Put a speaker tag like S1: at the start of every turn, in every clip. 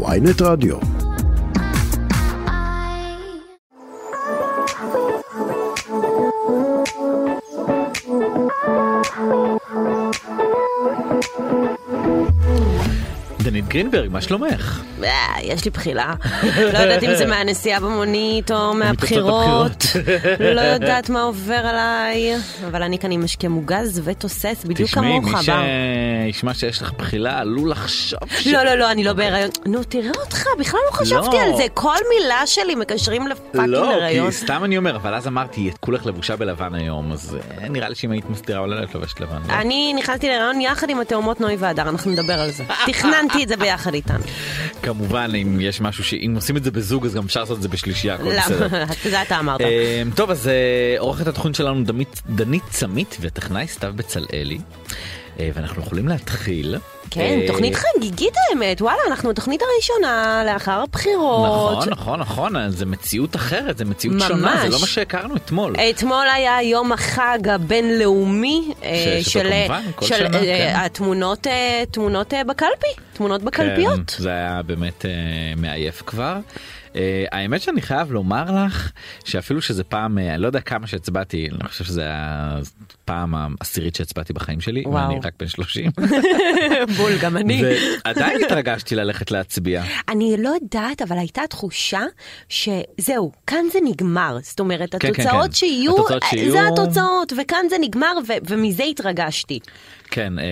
S1: ויינט רדיו.
S2: דנית גרינברג, מה שלומך?
S3: אה, יש לי בחילה. לא יודעת אם זה מהנסיעה במונית או מהבחירות. לא יודעת מה עובר עליי. אבל אני כאן עם משקה מוגז ותוסס בדיוק
S2: תשמעי,
S3: לא כמוך,
S2: מי
S3: בר.
S2: שישמע שיש לך בחילה עלול לחשוב ש...
S3: לא, לא, לא, אני לא בהיריון. נו, תראה אותך, בכלל לא חשבתי על זה. כל מילה שלי מקשרים לפאקינג
S2: לא,
S3: הריון.
S2: כי סתם אני אומר, אבל אז אמרתי, את כולך לבושה בלבן היום, אז אה, נראה לי שאם היית מסתירה אולי לא היית לובשת לבן. לא?
S3: אני נכנסתי להיריון יחד עם התאומות נוי והדר, אנחנו נדבר על זה. תכננתי את זה ביחד איתן.
S2: כמובן, אם יש משהו ש... אם עושים את זה בזוג, אז גם אפשר לעשות את זה בשלישייה, הכל בסדר.
S3: למה? זה אתה אמרת.
S2: אה, טוב, אז אה, עורכת התכון שלנו דמית- דנית צמית וטכנאי סתיו בצלאלי, אה, ואנחנו יכולים להתחיל.
S3: כן,
S2: אה,
S3: תוכנית חגיגית האמת, וואלה, אנחנו התוכנית הראשונה לאחר הבחירות.
S2: נכון, נכון, נכון, זה מציאות אחרת, זה מציאות שונה, זה
S3: ממש.
S2: לא מה שהכרנו אתמול.
S3: אתמול היה יום החג הבינלאומי אה,
S2: שיש אותו
S3: של, אה,
S2: כמובן, כל
S3: של
S2: שנה,
S3: אה,
S2: כן.
S3: התמונות אה, תמונות אה, בקלפי, תמונות בקלפיות.
S2: כן, זה היה באמת אה, מעייף כבר. אה, האמת שאני חייב לומר לך שאפילו שזה פעם, אה, אני לא יודע כמה שהצבעתי, אני חושב שזה היה פעם העשירית שהצבעתי בחיים שלי,
S3: וואו.
S2: ואני רק בן 30,
S3: בול, גם אני.
S2: ועדיין התרגשתי ללכת להצביע.
S3: אני לא יודעת, אבל הייתה תחושה שזהו, כאן זה נגמר. זאת אומרת,
S2: כן,
S3: התוצאות
S2: כן.
S3: שיהיו,
S2: התוצאות
S3: אה,
S2: שיהיו-
S3: זה התוצאות, וכאן זה נגמר, ו- ומזה התרגשתי.
S2: כן, אה,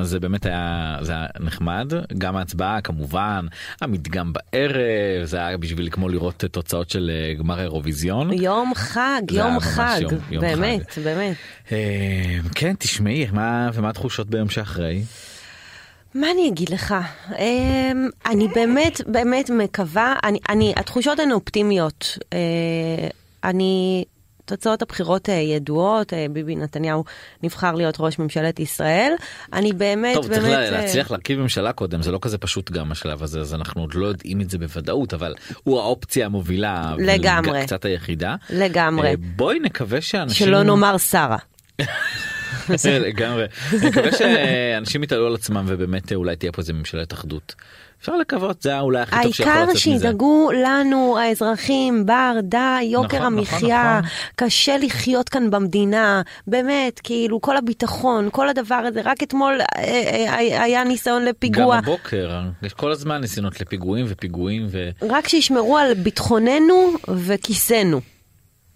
S2: אז זה באמת היה, זה היה נחמד, גם ההצבעה כמובן, המדגם בערב, זה היה בשביל כמו לראות אה, תוצאות של אה, גמר האירוויזיון.
S3: יום חג,
S2: אוקיי. זה היה
S3: יום
S2: ממש
S3: חג,
S2: יום- יום חג.
S3: באמת, באמת.
S2: אה, כן, תשמעי, מה, ומה התחושות ביום שאחרי?
S3: מה אני אגיד לך? אמ, אני באמת באמת מקווה, אני, אני, התחושות הן אופטימיות. אה, אני, תוצאות הבחירות אה, ידועות, אה, ביבי נתניהו נבחר להיות ראש ממשלת ישראל. אני באמת
S2: טוב,
S3: באמת...
S2: צריך לה-
S3: אה,
S2: להצליח להרכיב ממשלה קודם, זה לא כזה פשוט גם השלב הזה, אז אנחנו עוד לא יודעים את זה בוודאות, אבל הוא האופציה המובילה.
S3: לגמרי.
S2: קצת היחידה.
S3: לגמרי.
S2: אה, בואי נקווה שאנשים...
S3: שלא נאמר שרה.
S2: זה לגמרי. נקווה שאנשים יתעלו על עצמם ובאמת אה, אולי תהיה פה איזה ממשלת אחדות. אפשר לקוות, זה היה אולי הכי טוב שיכול
S3: העיקר
S2: לצאת מזה.
S3: שידאגו לנו האזרחים, בר, די, יוקר
S2: נכון,
S3: המחיה,
S2: נכון.
S3: קשה לחיות כאן במדינה, באמת, כאילו כל הביטחון, כל הדבר הזה, רק אתמול אה, אה, אה, היה ניסיון
S2: גם
S3: לפיגוע.
S2: הבוקר, יש כל הזמן ניסיונות לפיגועים ופיגועים ו...
S3: רק שישמרו על ביטחוננו וכיסנו.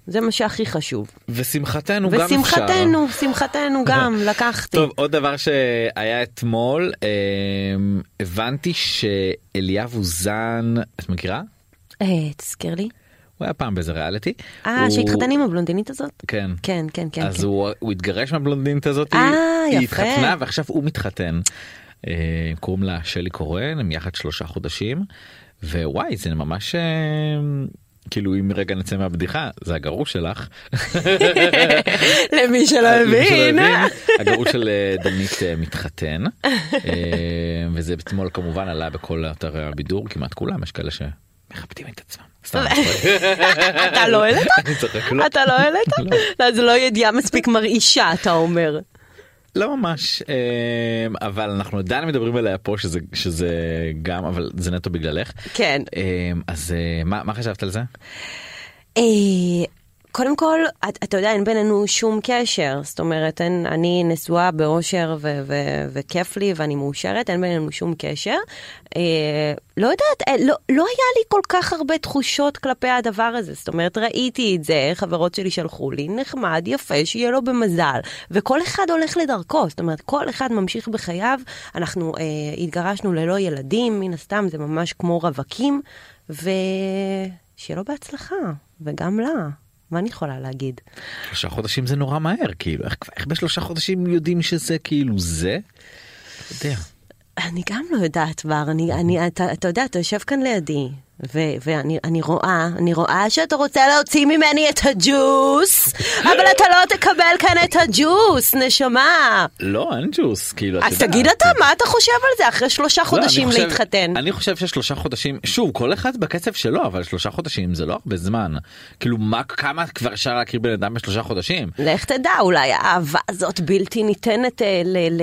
S3: זה מה שהכי חשוב.
S2: ושמחתנו גם אפשר.
S3: ושמחתנו, שמחתנו גם, לקחתי.
S2: טוב, עוד דבר שהיה אתמול, אמ, הבנתי שאליאב אוזן, את מכירה?
S3: אה, תזכיר לי.
S2: הוא היה פעם באיזה ריאליטי.
S3: אה,
S2: הוא-
S3: שהתחתן עם הבלונדינית הזאת?
S2: כן.
S3: כן, כן, כן.
S2: אז
S3: כן.
S2: הוא, הוא התגרש מהבלונדינית הזאת,
S3: אה,
S2: היא
S3: יפה.
S2: התחתנה ועכשיו הוא מתחתן. אה, קוראים לה שלי קורן, הם יחד שלושה חודשים, ווואי זה ממש אה, כאילו אם רגע נצא מהבדיחה זה הגרוש שלך.
S3: למי שלא
S2: אה, למי שלא
S3: הבין.
S2: הבין, הגרוש של אה, דנית אה, מתחתן, אה, וזה אתמול כמובן עלה בכל אתרי הבידור, כמעט כולם, יש כאלה שמכבדים את עצמם. סתם, אני צוחק.
S3: אתה לא העלית?
S2: אני צוחק, לא.
S3: אתה לא העלית? לא, זו לא ידיעה מספיק מרעישה, אתה אומר.
S2: לא ממש אה, אבל אנחנו עדיין מדברים עליה פה שזה שזה גם אבל זה נטו בגללך
S3: כן.
S2: אה, אז אה, מה מה חשבת על זה
S3: אה, קודם כל, את- אתה יודע, אין בינינו שום קשר. זאת אומרת, אין, אני נשואה באושר ו- ו- וכיף לי ואני מאושרת, אין בינינו שום קשר. אה, לא יודעת, אה, לא, לא היה לי כל כך הרבה תחושות כלפי הדבר הזה. זאת אומרת, ראיתי את זה, חברות שלי שלחו לי, נחמד, יפה, שיהיה לו במזל. וכל אחד הולך לדרכו, זאת אומרת, כל אחד ממשיך בחייו. אנחנו אה, התגרשנו ללא ילדים, מן הסתם, זה ממש כמו רווקים. ו... שיהיה לו בהצלחה, וגם לה. מה אני יכולה להגיד?
S2: שלושה חודשים זה נורא מהר כאילו איך איך בשלושה חודשים יודעים שזה כאילו זה. לא יודע.
S3: אני גם לא יודעת, בר. אני, אני, אתה, אתה יודע, אתה יושב כאן לידי, ו, ואני אני רואה, אני רואה שאתה רוצה להוציא ממני את הג'וס, אבל אתה לא תקבל כאן את הג'וס, נשמה.
S2: לא אין ג'וס כאילו את
S3: אז
S2: יודעת.
S3: תגיד אתה, מה אתה חושב על זה אחרי שלושה
S2: לא, אני
S3: חודשים
S2: חושב-
S3: להתחתן?
S2: אני חושב ששלושה חודשים שוב כל אחד בקצב שלו אבל שלושה חודשים זה לא הרבה זמן כאילו מה כמה כבר אפשר להכיר בן אדם בשלושה חודשים
S3: לך תדע, אולי האהבה הזאת בלתי ניתנת אה, ל, ל,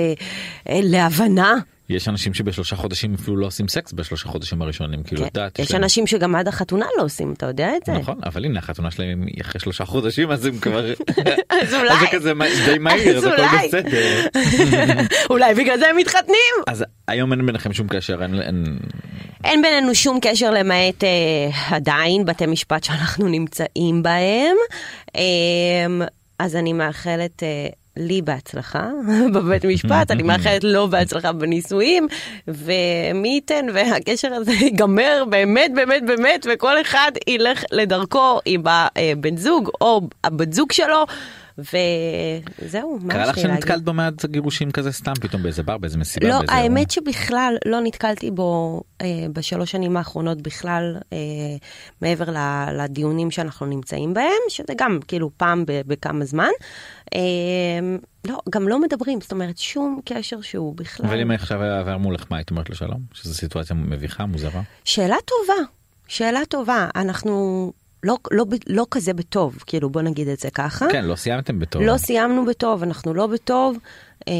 S3: אה, להבנה.
S2: יש אנשים שבשלושה חודשים אפילו לא עושים סקס בשלושה חודשים הראשונים, כאילו, את
S3: כן.
S2: יודעת,
S3: יש
S2: להם-
S3: אנשים שגם עד החתונה לא עושים, אתה יודע את זה?
S2: נכון, אבל הנה החתונה שלהם היא אחרי שלושה חודשים אז הם כבר,
S3: אז אולי.
S2: אז זה כזה מה- די מהיר, אז
S3: אז
S2: הכל
S3: אולי.
S2: בסדר.
S3: אולי בגלל זה הם מתחתנים.
S2: אז היום אין ביניכם שום קשר, אין- אין,
S3: אין בינינו שום קשר למעט אה, עדיין בתי משפט שאנחנו נמצאים בהם. אה, אז אני מאחלת אה, לי בהצלחה בבית משפט, אני מאחלת לו בהצלחה בנישואים, ומי ייתן והקשר הזה ייגמר באמת באמת באמת, וכל אחד ילך לדרכו עם הבן זוג או הבת זוג שלו, וזהו, מה
S2: קרה
S3: יש
S2: לך
S3: לי להגיד?
S2: שנתקלת במעט גירושים כזה סתם פתאום באיזה בר באיזה מסיבה
S3: לא,
S2: באיזה אירוע?
S3: האמת שבכלל לא נתקלתי בו אה, בשלוש שנים האחרונות בכלל, אה, מעבר ל- לדיונים שאנחנו נמצאים בהם, שזה גם כאילו פעם ב- בכמה זמן. אה, לא, גם לא מדברים, זאת אומרת, שום קשר שהוא בכלל.
S2: אבל אם עכשיו היה עבר מולך מה היית אומרת לו שלום שזו סיטואציה מביכה מוזרה
S3: שאלה טובה, שאלה טובה. אנחנו לא, לא, ב- לא כזה בטוב, כאילו, בוא נגיד את זה ככה.
S2: כן לא סיימתם בתור
S3: לא סיימנו בטוב, אנחנו לא בטוב. אה,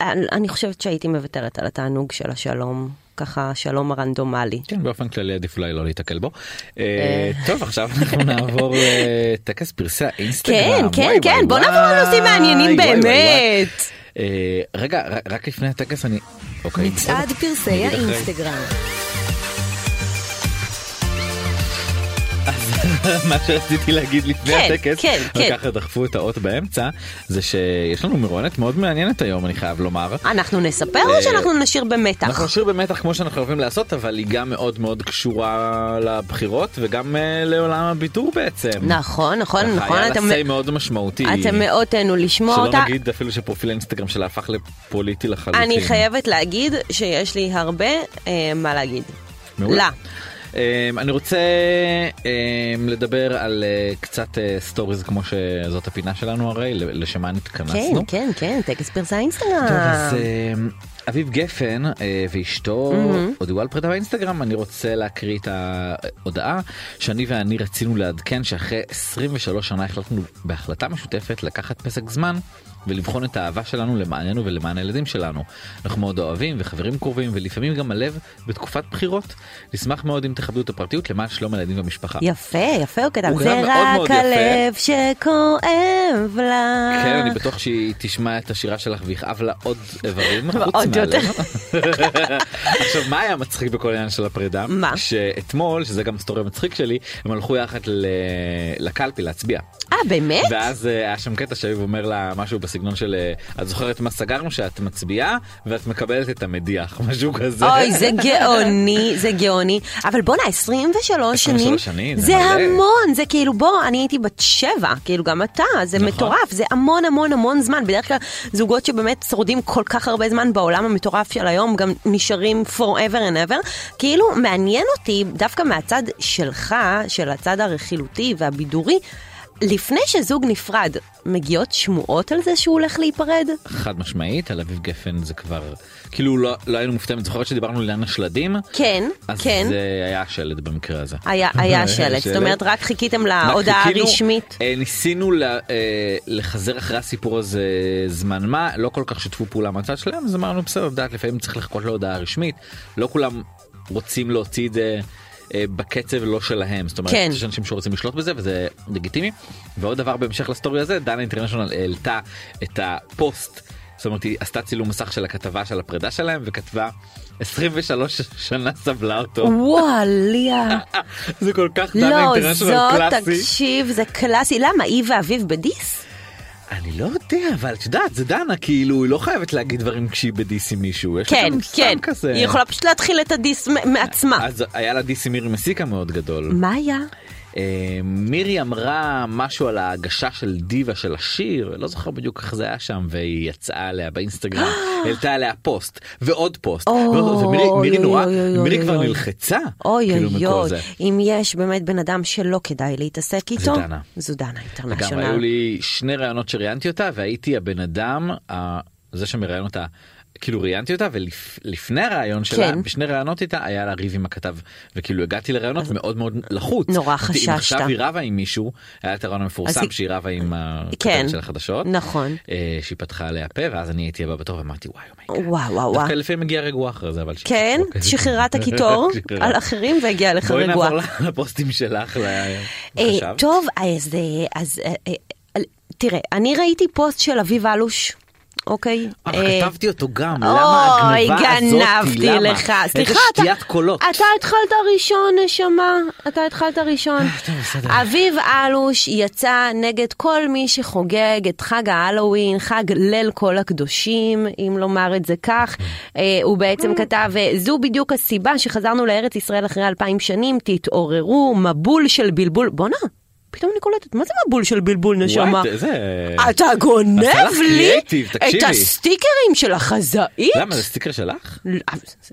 S3: אני אני חושבת שהייתי מוותרת על התענוג של השלום, ככה שלום הרנדומלי.
S2: כן באופן כללי עדיף אולי לא להיתקל בו אה, טוב עכשיו אנחנו נעבור לטקס פרסי
S3: כן,
S2: האינסטגרם
S3: כן,
S2: וואי,
S3: כן,
S2: וואי,
S3: בוא נעבור
S2: וואי,
S3: לנושאים מעניינים
S2: וואי, וואי, וואי.
S3: באמת.
S2: אה, רגע ר- רק לפני הטקס אני אוקיי
S1: מצעד
S2: בסדר.
S1: פרסי
S2: נגיד אחרי.
S1: האינסטגרם.
S2: לא מה שרציתי להגיד לפני
S3: כן,
S2: הטקס,
S3: כן, כן.
S2: וככה דחפו את האות באמצע, זה שיש לנו מרואיינת מאוד מעניינת היום, אני חייב לומר.
S3: אנחנו נספר
S2: אה,
S3: או שאנחנו נשאיר במתח?
S2: אנחנו נשאיר במתח כמו שאנחנו אוהבים לעשות, אבל היא גם מאוד מאוד קשורה לבחירות וגם אה, לעולם הבידור בעצם.
S3: נכון, נכון,
S2: ככה,
S3: נכון,
S2: היה לה
S3: אתם-
S2: סיי מאוד משמעותי.
S3: אתם מאוד תהנו לשמוע
S2: שלא
S3: אותה.
S2: נגיד אפילו שפרופיל האינסטגרם שלה הפך לפוליטי לחלוטין.
S3: אני חייבת להגיד שיש לי הרבה אה, מה להגיד.
S2: מעולה.
S3: לה. לא.
S2: אמ, אני רוצה אמ, לדבר על אה, קצת אה, סטוריז כמו שזאת הפינה שלנו הרי, ל- לשמה
S3: כן,
S2: נתכנסנו.
S3: כן, כן, טקס פרסי
S2: טוב,
S3: האינסטגרם.
S2: אז אמ, אביב גפן אה, ואשתו הודיעו על פרידה באינסטגרם, אני רוצה להקריא את ההודעה שאני ואני רצינו לעדכן שאחרי 23 שנה החלטנו בהחלטה משותפת לקחת פסק זמן. ולבחון את האהבה שלנו למעננו ולמען הילדים שלנו. אנחנו מאוד אוהבים וחברים קרובים ולפעמים גם הלב בתקופת בחירות. נשמח מאוד אם תכבדו את הפרטיות למען שלום הילדים והמשפחה.
S3: יפה, יפה, הוא כתב,
S2: הוא
S3: זה
S2: כתב מאוד מאוד
S3: רק
S2: יפה."
S3: הלב שכואב לך.
S2: כן, אני בטוח שהיא תשמע את השירה שלך ויכאב לה עוד איברים חוץ
S3: עוד יותר.
S2: מהלב. עכשיו, מה היה מצחיק בכל העניין של הפרידה?
S3: מה?
S2: שאתמול, שזה גם סטורי מצחיק שלי, הם הלכו יחד ל- לקלפי להצביע.
S3: אה, באמת?
S2: ואז אה, היה שם קטע שהיו אומר לה משהו בסגנון של אה, את זוכרת מה סגרנו שאת מצביעה ואת מקבלת את המדיח משהו כזה.
S3: אוי, זה גאוני, זה גאוני. אבל בואנה, 23 שנים,
S2: 23 שנים, זה
S3: זה
S2: מלא.
S3: המון, זה כאילו, בוא, אני הייתי בת שבע, כאילו גם אתה, זה
S2: נכון.
S3: מטורף, זה המון המון המון זמן. בדרך כלל זוגות שבאמת שורדים כל כך הרבה זמן בעולם המטורף של היום, גם נשארים forever and ever. כאילו, מעניין אותי, דווקא מהצד שלך, של הצד הרכילותי והבידורי, לפני שזוג נפרד, מגיעות שמועות על זה שהוא הולך להיפרד?
S2: חד משמעית, על אביב גפן זה כבר, כאילו לא לא היינו מופתעים, את זוכרת שדיברנו לעניין השלדים?
S3: כן,
S2: אז
S3: כן.
S2: זה היה השלד במקרה הזה.
S3: היה, היה שלט,
S2: אה, שלט.
S3: זאת אומרת רק חיכיתם
S2: רק
S3: להודעה
S2: חיכינו,
S3: הרשמית.
S2: אה, ניסינו ל- אה, לחזר אחרי הסיפור הזה זמן מה, לא כל כך שיתפו פעולה מהצד שלהם, אז אמרנו בסדר, את יודעת, לפעמים צריך לחכות להודעה רשמית, לא כולם רוצים להוציא את זה. אה, בקצב לא שלהם זאת אומרת
S3: כן.
S2: יש אנשים שרוצים לשלוט בזה וזה לגיטימי ועוד דבר בהמשך לסטורי הזה דנה אינטרנשיונל העלתה את הפוסט זאת אומרת היא עשתה צילום מסך של הכתבה של הפרידה שלהם וכתבה 23 שנה סבלה אותו
S3: וואליה,
S2: זה כל כך דנה
S3: לא,
S2: אינטרנשיונל
S3: זאת,
S2: קלאסי.
S3: תקשיב, זה קלאסי. למה, היא ואביו בדיס?
S2: אני לא יודע, אבל את יודעת, זה דנה, כאילו, היא לא חייבת להגיד דברים כשהיא בדיס עם מישהו. יש לה
S3: כן,
S2: גם סתם
S3: כן,
S2: כזה.
S3: היא יכולה פשוט להתחיל את הדיס מ- מעצמה.
S2: אז היה לה דיס עם מירי מסיקה מאוד גדול.
S3: מה היה?
S2: אה, מירי אמרה משהו על ההגשה של דיווה של השיר, לא זוכר בדיוק איך זה היה שם, והיא יצאה עליה באינסטגרם, העלתה עליה פוסט, ועוד פוסט,
S3: אוי,
S2: ועוד- ומירי מירי
S3: אוי,
S2: נורא,
S3: אוי, אוי,
S2: מירי
S3: אוי,
S2: כבר
S3: אוי.
S2: נלחצה,
S3: אוי
S2: כאילו,
S3: אוי
S2: מכל
S3: אוי,
S2: זה.
S3: אם יש באמת בן אדם שלא כדאי להתעסק איתו,
S2: דנה.
S3: זו דנה
S2: גם
S3: אינטרנשיונל.
S2: היו לי שני ראיונות שראיינתי אותה והייתי הבן אדם, ה- זה שמראיין אותה. כאילו ראיינתי אותה ולפני הרעיון שלה
S3: כן.
S2: בשני ראיונות איתה היה לה ריב עם הכתב וכאילו הגעתי לראיונות מאוד מאוד לחוץ.
S3: נורא
S2: אם
S3: חששת.
S2: עכשיו היא רבה עם מישהו היה את הרעיון
S3: אז
S2: המפורסם
S3: היא-
S2: שהיא רבה עם הכתב
S3: כן.
S2: של החדשות.
S3: נכון.
S2: אה, שהיא פתחה עליה פה ואז אני הייתי הבא בתור ואמרתי וואי אומייגאד.
S3: וואו וואו וואו.
S2: דווקא לפעמים מגיע רגוע אחרי זה אבל
S3: כן,
S2: אוקיי.
S3: שחררה את הקיטור
S2: שחררה.
S3: על אחרים והגיעה לך
S2: בואי
S3: רגועה.
S2: נעבור לפוסטים שלך. ל-
S3: אה,
S2: עכשיו.
S3: טוב, אז, אה, אז אה, אה, אה, תראה, אני ראיתי פוסט של אביב אלוש, אוקיי?
S2: אה,
S3: אה,
S2: כתבתי אותו גם, למה
S3: אוי,
S2: הגניבה הזאתי?
S3: גנבתי
S2: למה?
S3: לך. סליחה,
S2: איזה
S3: אתה-
S2: שתיית קולות.
S3: אתה התחלת ראשון, נשמה. אתה התחלת ראשון.
S2: אה,
S3: אביב אלוש יצא נגד כל מי שחוגג את חג ההלואוין, חג ליל כל הקדושים, אם לומר את זה כך.
S2: כן.
S3: אה, הוא בעצם כתב, אה, זו בדיוק הסיבה שחזרנו לארץ ישראל אחרי אלפיים שנים, תתעוררו, מבול של בלבול. בואנה, פתאום אני קולטת, מה זה מבול של בלבול, נשמה? אה,
S2: וואי, זה...
S3: אתה גונב
S2: אה, עשה לך
S3: לי
S2: קריאיטיב,
S3: את
S2: תקשיבי.
S3: הסטיקרים של החזאית?
S2: למה זה סטיקר שלך?
S3: לא,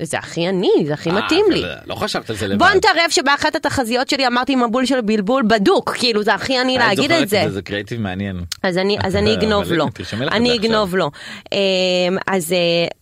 S3: זה הכי אני, זה הכי מתאים לי.
S2: אה, לא חשבת על זה לבד.
S3: בוא נתערב שבאחת התחזיות שלי אמרתי מבול של בלבול בדוק, כאילו זה הכי אני
S2: היית
S3: להגיד
S2: זוכרת
S3: את זה.
S2: זה קריאיטיב מעניין.
S3: אז אני, אז אני
S2: אבל
S3: אגנוב לו,
S2: תרשמי לך את
S3: אני
S2: זה
S3: אגנוב לו. אמ, אז, אה,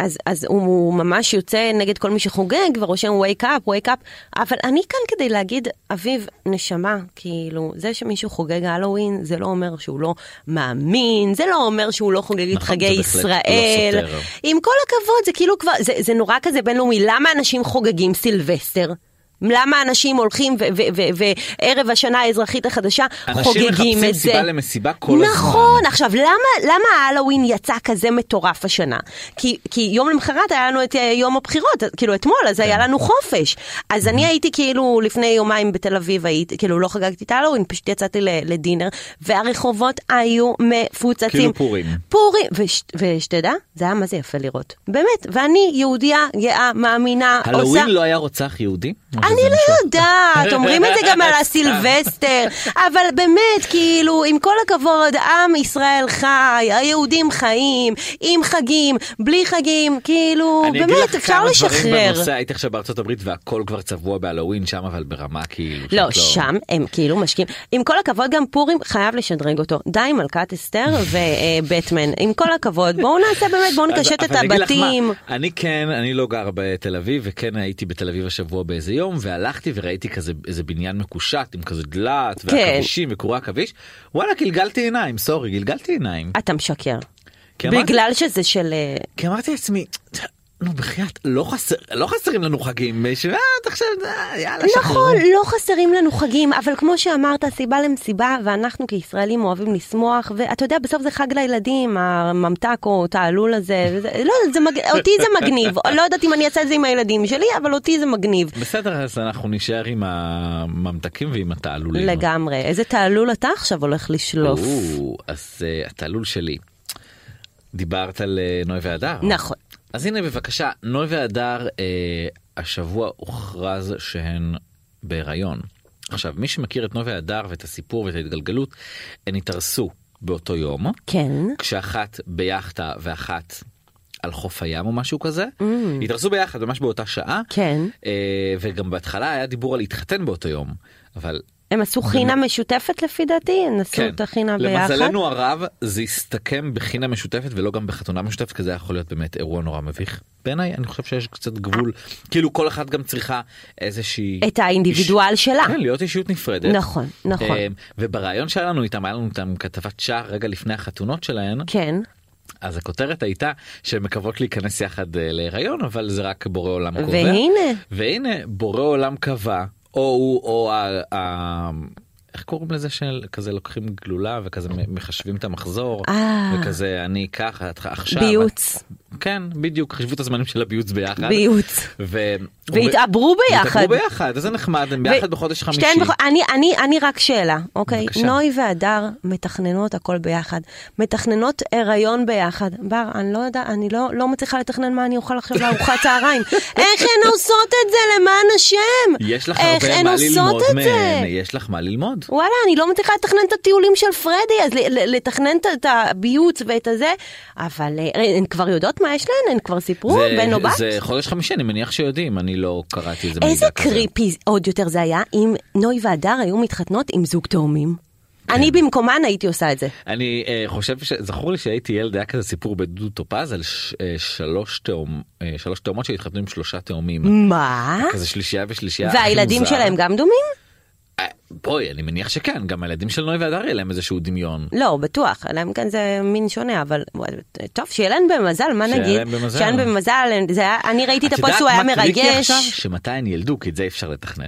S3: אז, אז הוא, הוא ממש יוצא נגד כל מי שחוגג ורושם wake up, wake up, אבל אני כאן כדי להגיד, אביב, נשמה, כאילו, זה שמישהו חוגג הלואוין, זה לא אומר שהוא לא מאמין, זה לא אומר שהוא לא חוגג את
S2: נכון,
S3: חגי
S2: זה בהחלט לא
S3: ישראל.
S2: סותר.
S3: עם כל הכבוד, זה כאילו כבר, זה, זה נורא כזה בינלאומי, למה אנשים חוגגים סילבסטר? למה אנשים הולכים ו- ו- ו- וערב השנה האזרחית החדשה חוגגים את זה?
S2: אנשים מחפשים סיבה למסיבה כל הזמן.
S3: נכון, עכשיו, למה, למה ההלואוין יצא כזה מטורף השנה? כי, כי יום למחרת היה לנו את אה, יום הבחירות, אז- כאילו אתמול, אז היה
S2: כן.
S3: לנו חופש. אז
S2: Mm-hmm.
S3: אני הייתי כאילו לפני יומיים בתל אביב, הייתי, כאילו לא חגגתי את ההלואוין, פשוט יצאתי ל- לדינר, והרחובות היו מפוצצים.
S2: כאילו פורים.
S3: פורים, וש- ושתדע, זה היה מה זה יפה לראות. באמת, ואני יהודייה גאה, מאמינה, עושה...
S2: הלואוין לא היה רוצח יהודי? או שזה
S3: אני
S2: משהו-
S3: לא יודעת, אומרים את זה גם על
S2: סתם.
S3: הסילבסטר, אבל באמת, כאילו, עם כל הכבוד, עם ישראל חי, היהודים חיים, עם חגים, בלי חגים, כאילו,
S2: אני אגיד
S3: באמת,
S2: לך
S3: אפשר
S2: כמה דברים
S3: לשחרר.
S2: בנושא, הייתי עכשיו בארצות הברית והכל כבר צבוע בהלואוין שם, אבל ברמה כאילו... שאת
S3: לא, שם הם כאילו משקיעים. עם כל הכבוד, גם פורים חייב לשדרג אותו. די עם מלכת אסתר ובטמן. עם כל הכבוד, בואו נעשה באמת, בואו
S2: אז-
S3: נקשט את
S2: אבל אני אגיד לך מה,
S3: הבתים.
S2: אני כן, אני לא גר בתל אביב, וכן הייתי בתל אביב השבוע באיזה יום, והלכתי וראיתי כזה איזה בניין מקושט עם כזה דלעת,
S3: כן.
S2: והכבישים וקורי עכביש, וואלה גלגלתי עיניים, סורי, גלגלתי עיניים.
S3: אתה משקר.
S2: כי אמרתי-
S3: בגלל שזה של... אה,
S2: כי אמרתי לעצמי, "ת- נו בחייאת, לא חסר- לא חסרים לנו חגים, שמה, תחשב, אה, יאללה, שחררו.
S3: נכון, לא חסרים לנו חגים, אבל כמו שאמרת, סיבה למסיבה, ואנחנו כישראלים אוהבים לשמוח, ואתה יודע, בסוף זה חג לילדים, הממתק או תעלול הזה, וזה- לא, זה מג... אותי זה מגניב, לא יודעת אם אני אעשה את זה עם הילדים שלי, אבל אותי זה מגניב.
S2: בסדר, אז אנחנו נישאר עם הממתקים ועם התעלולים.
S3: לגמרי. איזה תעלול אתה עכשיו הולך לשלוף?
S2: או, אז אה, התעלול שלי. דיברת על אה, נוי והדר.
S3: נכון.
S2: אז הנה בבקשה, נוי והדר אה, השבוע הוכרז שהן בהיריון. עכשיו, מי שמכיר את נוי והדר ואת הסיפור ואת ההתגלגלות, הן התארסו באותו יום,
S3: כן.
S2: כשאחת ביאכטה ואחת על חוף הים או משהו כזה. התארסו ביחד ממש באותה שעה.
S3: כן.
S2: אה, וגם בהתחלה היה דיבור על להתחתן באותו יום, אבל
S3: הם עשו חינה משותפת לפי דעתי, הם עשו את החינה ביחד.
S2: כן. למזלנו הרב זה הסתכם בחינה משותפת ולא גם בחתונה משותפת כי זה יכול להיות באמת אירוע נורא מביך בעיניי אני חושב שיש קצת גבול כאילו כל אחת גם צריכה איזושהי
S3: את האינדיבידואל
S2: איש-
S3: שלה.
S2: כן, להיות אישיות נפרדת
S3: נכון, נכון.
S2: אה, וברעיון שהיה לנו איתם היה לנו איתם כתבת שער רגע לפני החתונות שלהן
S3: כן.
S2: אז הכותרת הייתה שהן מקוות להיכנס יחד אה, להיריון אבל זה רק בורא עולם קובע.
S3: והנה.
S2: והנה בורא עולם קבע או הוא או ה... ה... איך קוראים לזה של כזה לוקחים גלולה וכזה מחשבים את המחזור
S3: אה.
S2: וכזה אני ככה את- עכשיו
S3: ביוץ.
S2: כן בדיוק חישבו את הזמנים של הביוץ ביחד
S3: ביוץ.
S2: ו...
S3: והתעברו ביחד.
S2: והתעברו ביחד אז זה נחמד הם ביחד
S3: ו-
S2: בחודש חמישי
S3: שתיהן בח... אני, אני, אני רק שאלה, אוקיי?
S2: בבקשה.
S3: נוי והדר מתכננות הכל ביחד. מתכננות הריון ביחד. בר, אני לא יודע, אני לא, לא מצליחה לתכנן מה אני אוכל עכשיו לארוחת צהריים. איך הן עושות את זה, למען השם?
S2: יש לך
S3: איך
S2: הרבה
S3: הן
S2: מה
S3: עושות
S2: ללמוד
S3: את זה?
S2: מהן יש לך מה ללמוד
S3: וואלה, אני לא מצליחה לתכנן את הטיולים של פרדי, אז ל- ל- לתכנן את- את הביוץ ואת הזה, אבל אה, הן כבר יודעות מה יש להן, הן כבר סיפרו,
S2: זה-
S3: בן או בת?
S2: זה חודש חמישי אני מניח שיודעים אני לא קראתי איזה מידע
S3: איזה
S2: כזה.
S3: קריפי עוד יותר זה היה אם נוי והדר היו מתחתנות עם זוג תאומים. אני
S2: כן.
S3: במקומן הייתי עושה את זה.
S2: אני אה, חושב שזכור לי שהייתי ילד היה כזה סיפור בדודו טופז על ש... אה, שלוש תאום אה, שלוש תאומות שהתחתנו עם שלושה תאומים
S3: מה?
S2: כזה שלישייה ושלישייה. הכי
S3: והילדים
S2: מוזר.
S3: שלהם גם דומים?
S2: אה, בואי אני מניח שכן גם הילדים של נוי והדר יהיה להם איזשהו דמיון.
S3: לא, בטוח, אלא אם כן זה מין שונה, אבל טוב, שיהיה להן במזל, מה
S2: שיהיה
S3: נגיד?
S2: להן במזל.
S3: שיהיה להן במזל, זה היה- אני ראיתי את
S2: את
S3: הפוסט,
S2: יודעת
S3: הוא היה
S2: מה טריקי
S3: מרגש.
S2: עכשיו? שמתי הן ילדו כי את זה אפשר לתכנן.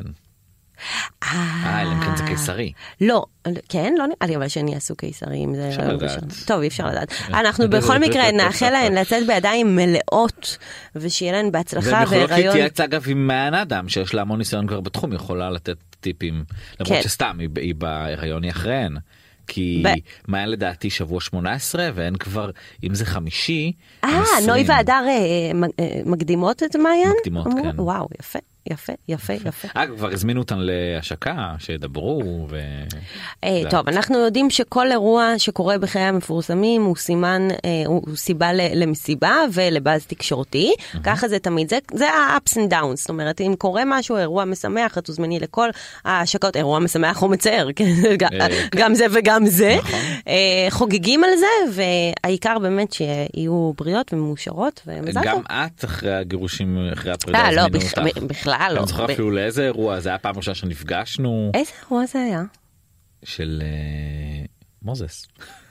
S2: אה, אלא אם כן זה קיסרי.
S3: לא, כן, לא נראה לי, אבל שהם יעשו קיסרים, זה... לא
S2: אפשר לדעת. אה,
S3: טוב, אי אפשר לדעת. אנחנו בכל מקרה נאחל להן לצאת בידיים מלאות, ושיהיה להן בהצלחה
S2: והן יכולות
S3: והיריון.
S2: להתייעץ אגב עם מען אדם שיש לה המון ניסיון כבר בתחום היא יכולה לתת טיפים למרות
S3: כן.
S2: שסתם היא, ב- היא בהיריון היא אחריהן. כי
S3: ב-
S2: מעיין לדעתי שבוע 18 והן כבר אם זה חמישי. הן
S3: אה,
S2: 20.
S3: נוי והדר אה, אה, מ- אה, מקדימות את מעיין?
S2: מקדימות,
S3: אמרו?
S2: כן.
S3: וואו, יפה, יפה, יפה, יפה.
S2: אגב כבר הזמינו אותן להשקה שידברו ו...
S3: אה,
S2: זה-
S3: טוב, אנחנו יודעים שכל אירוע שקורה בחיי המפורסמים הוא סימן, אה, הוא הוא סיבה ל- למסיבה ולבאז תקשורתי. ככה זה תמיד, זה- זה ה-ups and downs, זאת אומרת, אם קורה משהו, אירוע משמח, את תוזמני לכל ההשקות, אירוע משמח או מצער, כן, גם-
S2: אה,
S3: גם זה וגם זה.
S2: נכון.
S3: אה, חוגגים על זה, והעיקר באמת שיהיו בריאות ומאושרות, ומזל
S2: גם
S3: טוב.
S2: את אחרי הגירושים אחרי הפרידה
S3: אה, לא,
S2: הזמינו
S3: בכ-
S2: אותך.
S3: ב- בכלל לא.
S2: אני זוכר
S3: ב-
S2: אפילו לאיזה אירוע זה היה פעם ראשונה שנפגשנו
S3: איזה אירוע זה היה?
S2: של אה, מוזס.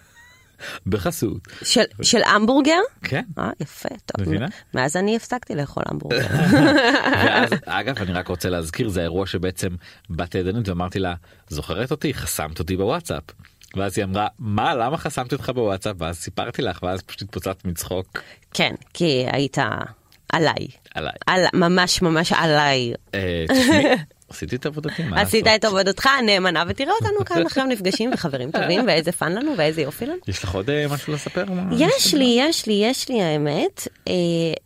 S2: בחסות.
S3: של- של המבורגר?
S2: כן.
S3: אה, יפה, טוב.
S2: מבינה?
S3: מאז אני הפסקתי לאכול המבורגר.
S2: ואז, אגב, אני רק רוצה להזכיר, זה האירוע שבעצם באתי לידנית ואמרתי לה, זוכרת אותי? חסמת אותי בוואטסאפ. ואז היא אמרה, מה, למה חסמתי אותך בוואטסאפ? ואז סיפרתי לך, ואז פשוט התפוצצת מצחוק
S3: כן, כי היית עליי.
S2: עליי.
S3: על, ממש ממש עליי.
S2: אה, תשמעי, עשיתי את עבודתי, מה
S3: עשית
S2: לעשות?
S3: את עבודתך הנאמנה, ותראה אותנו כאן עכשיו נפגשים וחברים טובים, ואיזה פאן לנו ואיזה יופי לנו.
S2: יש לך עוד אה, משהו לספר? מה?
S3: יש לי, יש לי, יש לי האמת, אה,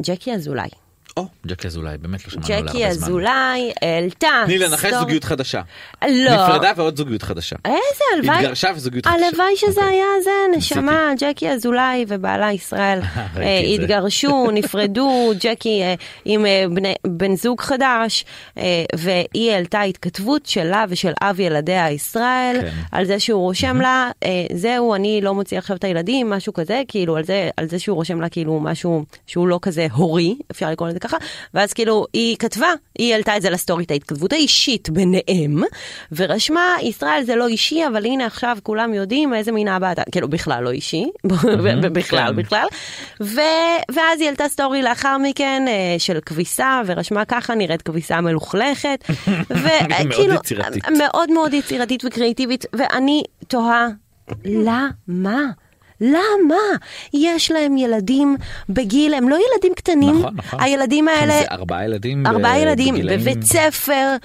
S3: ג'קי אזולאי.
S2: או, ג'קי אזולאי, באמת לא שמענו עליה הרבה זמן.
S3: ג'קי אזולאי העלתה...
S2: תני לנחש
S3: סטורי-
S2: זוגיות חדשה.
S3: לא.
S2: נפרדה ועוד זוגיות חדשה.
S3: אה, איזה הלוואי,
S2: התגרשה וזוגיות חדשה. אוקיי.
S3: הלוואי שזה היה זה,
S2: ניסיתי.
S3: נשמה, ג'קי אזולאי ובעלה ישראל
S2: ראיתי
S3: אה,
S2: את אוקיי, זה.
S3: התגרשו, נפרדו, ג'קי אה, עם אה, בני- בן זוג חדש, אה, והיא העלתה התכתבות שלה ושל אב ילדיה ישראל,
S2: כן.
S3: על זה שהוא רושם לה, אה, זהו, אני לא מוציא עכשיו את הילדים, משהו כזה, כאילו, על זה, על זה שהוא רושם לה כאילו משהו שהוא לא כזה הורי, אפשר לקרוא לזה ככה, ואז כאילו, היא כתבה, היא העלתה את זה לסטורי, את ההתכתבות האישית ביניהם, ורשמה, ישראל זה לא אישי, אבל הנה עכשיו כולם יודעים איזה מין אבא אתה, כאילו, בכלל לא אישי, בכלל,
S2: כן.
S3: בכלל, ו, ואז היא העלתה סטורי לאחר מכן אה, של כביסה, ורשמה ככה נראית כביסה מלוכלכת, אה, כאילו,
S2: מאוד
S3: וכאילו,
S2: יצירתית.
S3: מאוד מאוד יצירתית וקריאיטיבית, ואני תוהה, למה? למה? יש להם ילדים בגיל, הם לא ילדים קטנים,
S2: נכון, נכון.
S3: הילדים
S2: כן,
S3: האלה...
S2: זה ארבעה ילדים. ב-
S3: ארבעה ילדים
S2: בגילאים-
S3: בבית ספר, אה,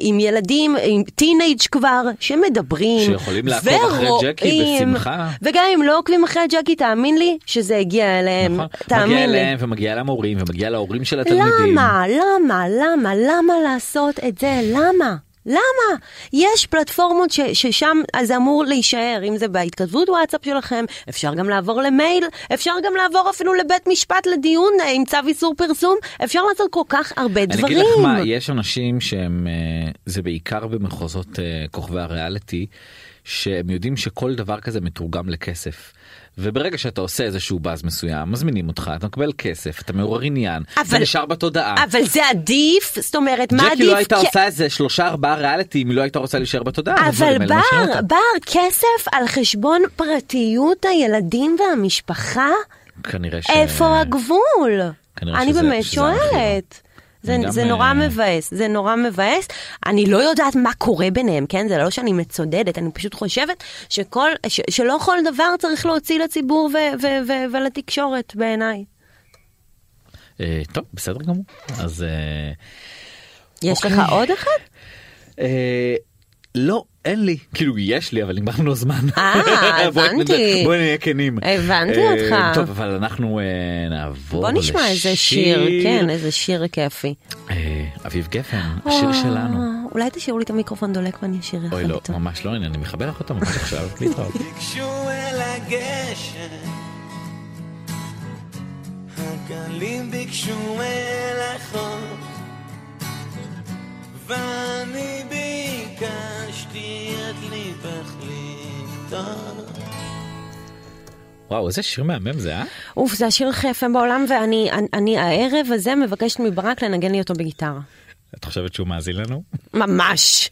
S3: עם ילדים, עם טינג' כבר, שמדברים,
S2: שיכולים לעקוב אחרי ג'קי
S3: ורואים,
S2: בשמחה.
S3: וגם אם לא עוקבים אחרי ג'קי, תאמין לי שזה הגיע אליהם,
S2: נכון. מגיע
S3: תאמין לי.
S2: אליהם ומגיע למורים ומגיע להורים של התלמידים.
S3: למה? למה? למה? למה לעשות את זה? למה? למה? יש פלטפורמות ש, ששם זה אמור להישאר, אם זה בהתכתבות וואטסאפ שלכם, אפשר גם לעבור למייל, אפשר גם לעבור אפילו לבית משפט לדיון אה, עם צו איסור פרסום, אפשר לעשות כל כך הרבה
S2: אני
S3: דברים.
S2: אגיד לך מה, יש אנשים שהם, אה, זה בעיקר במחוזות אה, כוכבי הריאליטי, שהם יודעים שכל דבר כזה מתורגם לכסף. וברגע שאתה עושה איזשהו באז מסוים, מזמינים אותך, אתה מקבל כסף, אתה מעורר עניין, זה
S3: אבל-
S2: נשאר בתודעה.
S3: אבל זה עדיף, זאת אומרת, מה עדיף?
S2: ג'קי לא הייתה
S3: כי-
S2: עושה איזה שלושה ארבעה ריאליטי אם היא לא הייתה רוצה להישאר בתודעה. אז הדברים
S3: אבל
S2: האלה לא משאירים
S3: בר,
S2: אותה.
S3: בר, כסף על חשבון פרטיות הילדים והמשפחה?
S2: כנראה ש...
S3: איפה הגבול?
S2: כנראה
S3: אני
S2: שזה-
S3: באמת
S2: שזה המחיר.
S3: שואלת. זה,
S2: אני גם,
S3: זה נורא
S2: אה,
S3: מבאס, זה נורא מבאס. אני לא יודעת מה קורה ביניהם, כן? זה לא שאני מצודדת, אני פשוט חושבת שכל, ש, שלא כל דבר צריך להוציא לציבור ו, ו, ו, ולתקשורת בעיניי.
S2: אה, טוב, בסדר גמור. אז... אה,
S3: יש
S2: אוקיי.
S3: לך עוד אחד?
S2: אה, לא, אין לי. כאילו, יש לי, אבל נגמרנו הזמן.
S3: אה,
S2: בואי
S3: הבנתי.
S2: נדע- בואי נהיה כנים.
S3: הבנתי
S2: אה,
S3: אותך.
S2: טוב, אבל אנחנו אה, נעבור
S3: בוא נשמע איזה שיר, כן, איזה שיר כיפי.
S2: אה, אביב גפן, השיר שלנו.
S3: אה, אולי תשאירו לי את המיקרופון דולק ואני אשיר יחד
S2: אוי, לא,
S3: איתו.
S2: ממש לא, הנה, אני מכבה לך אותה ממש עכשיו. להתראות.
S1: ניגשו אל הגשם, הגלים ביקשו אל החוף, ואני ביקשתי את ליבך לי.
S2: וואו, איזה שיר מהמם זה, אה?
S3: אוף, זה השיר הכי יפה בעולם, ואני אני, אני הערב הזה מבקשת מברק לנגן לי אותו בגיטרה.
S2: את חושבת שהוא מאזין לנו?
S3: ממש.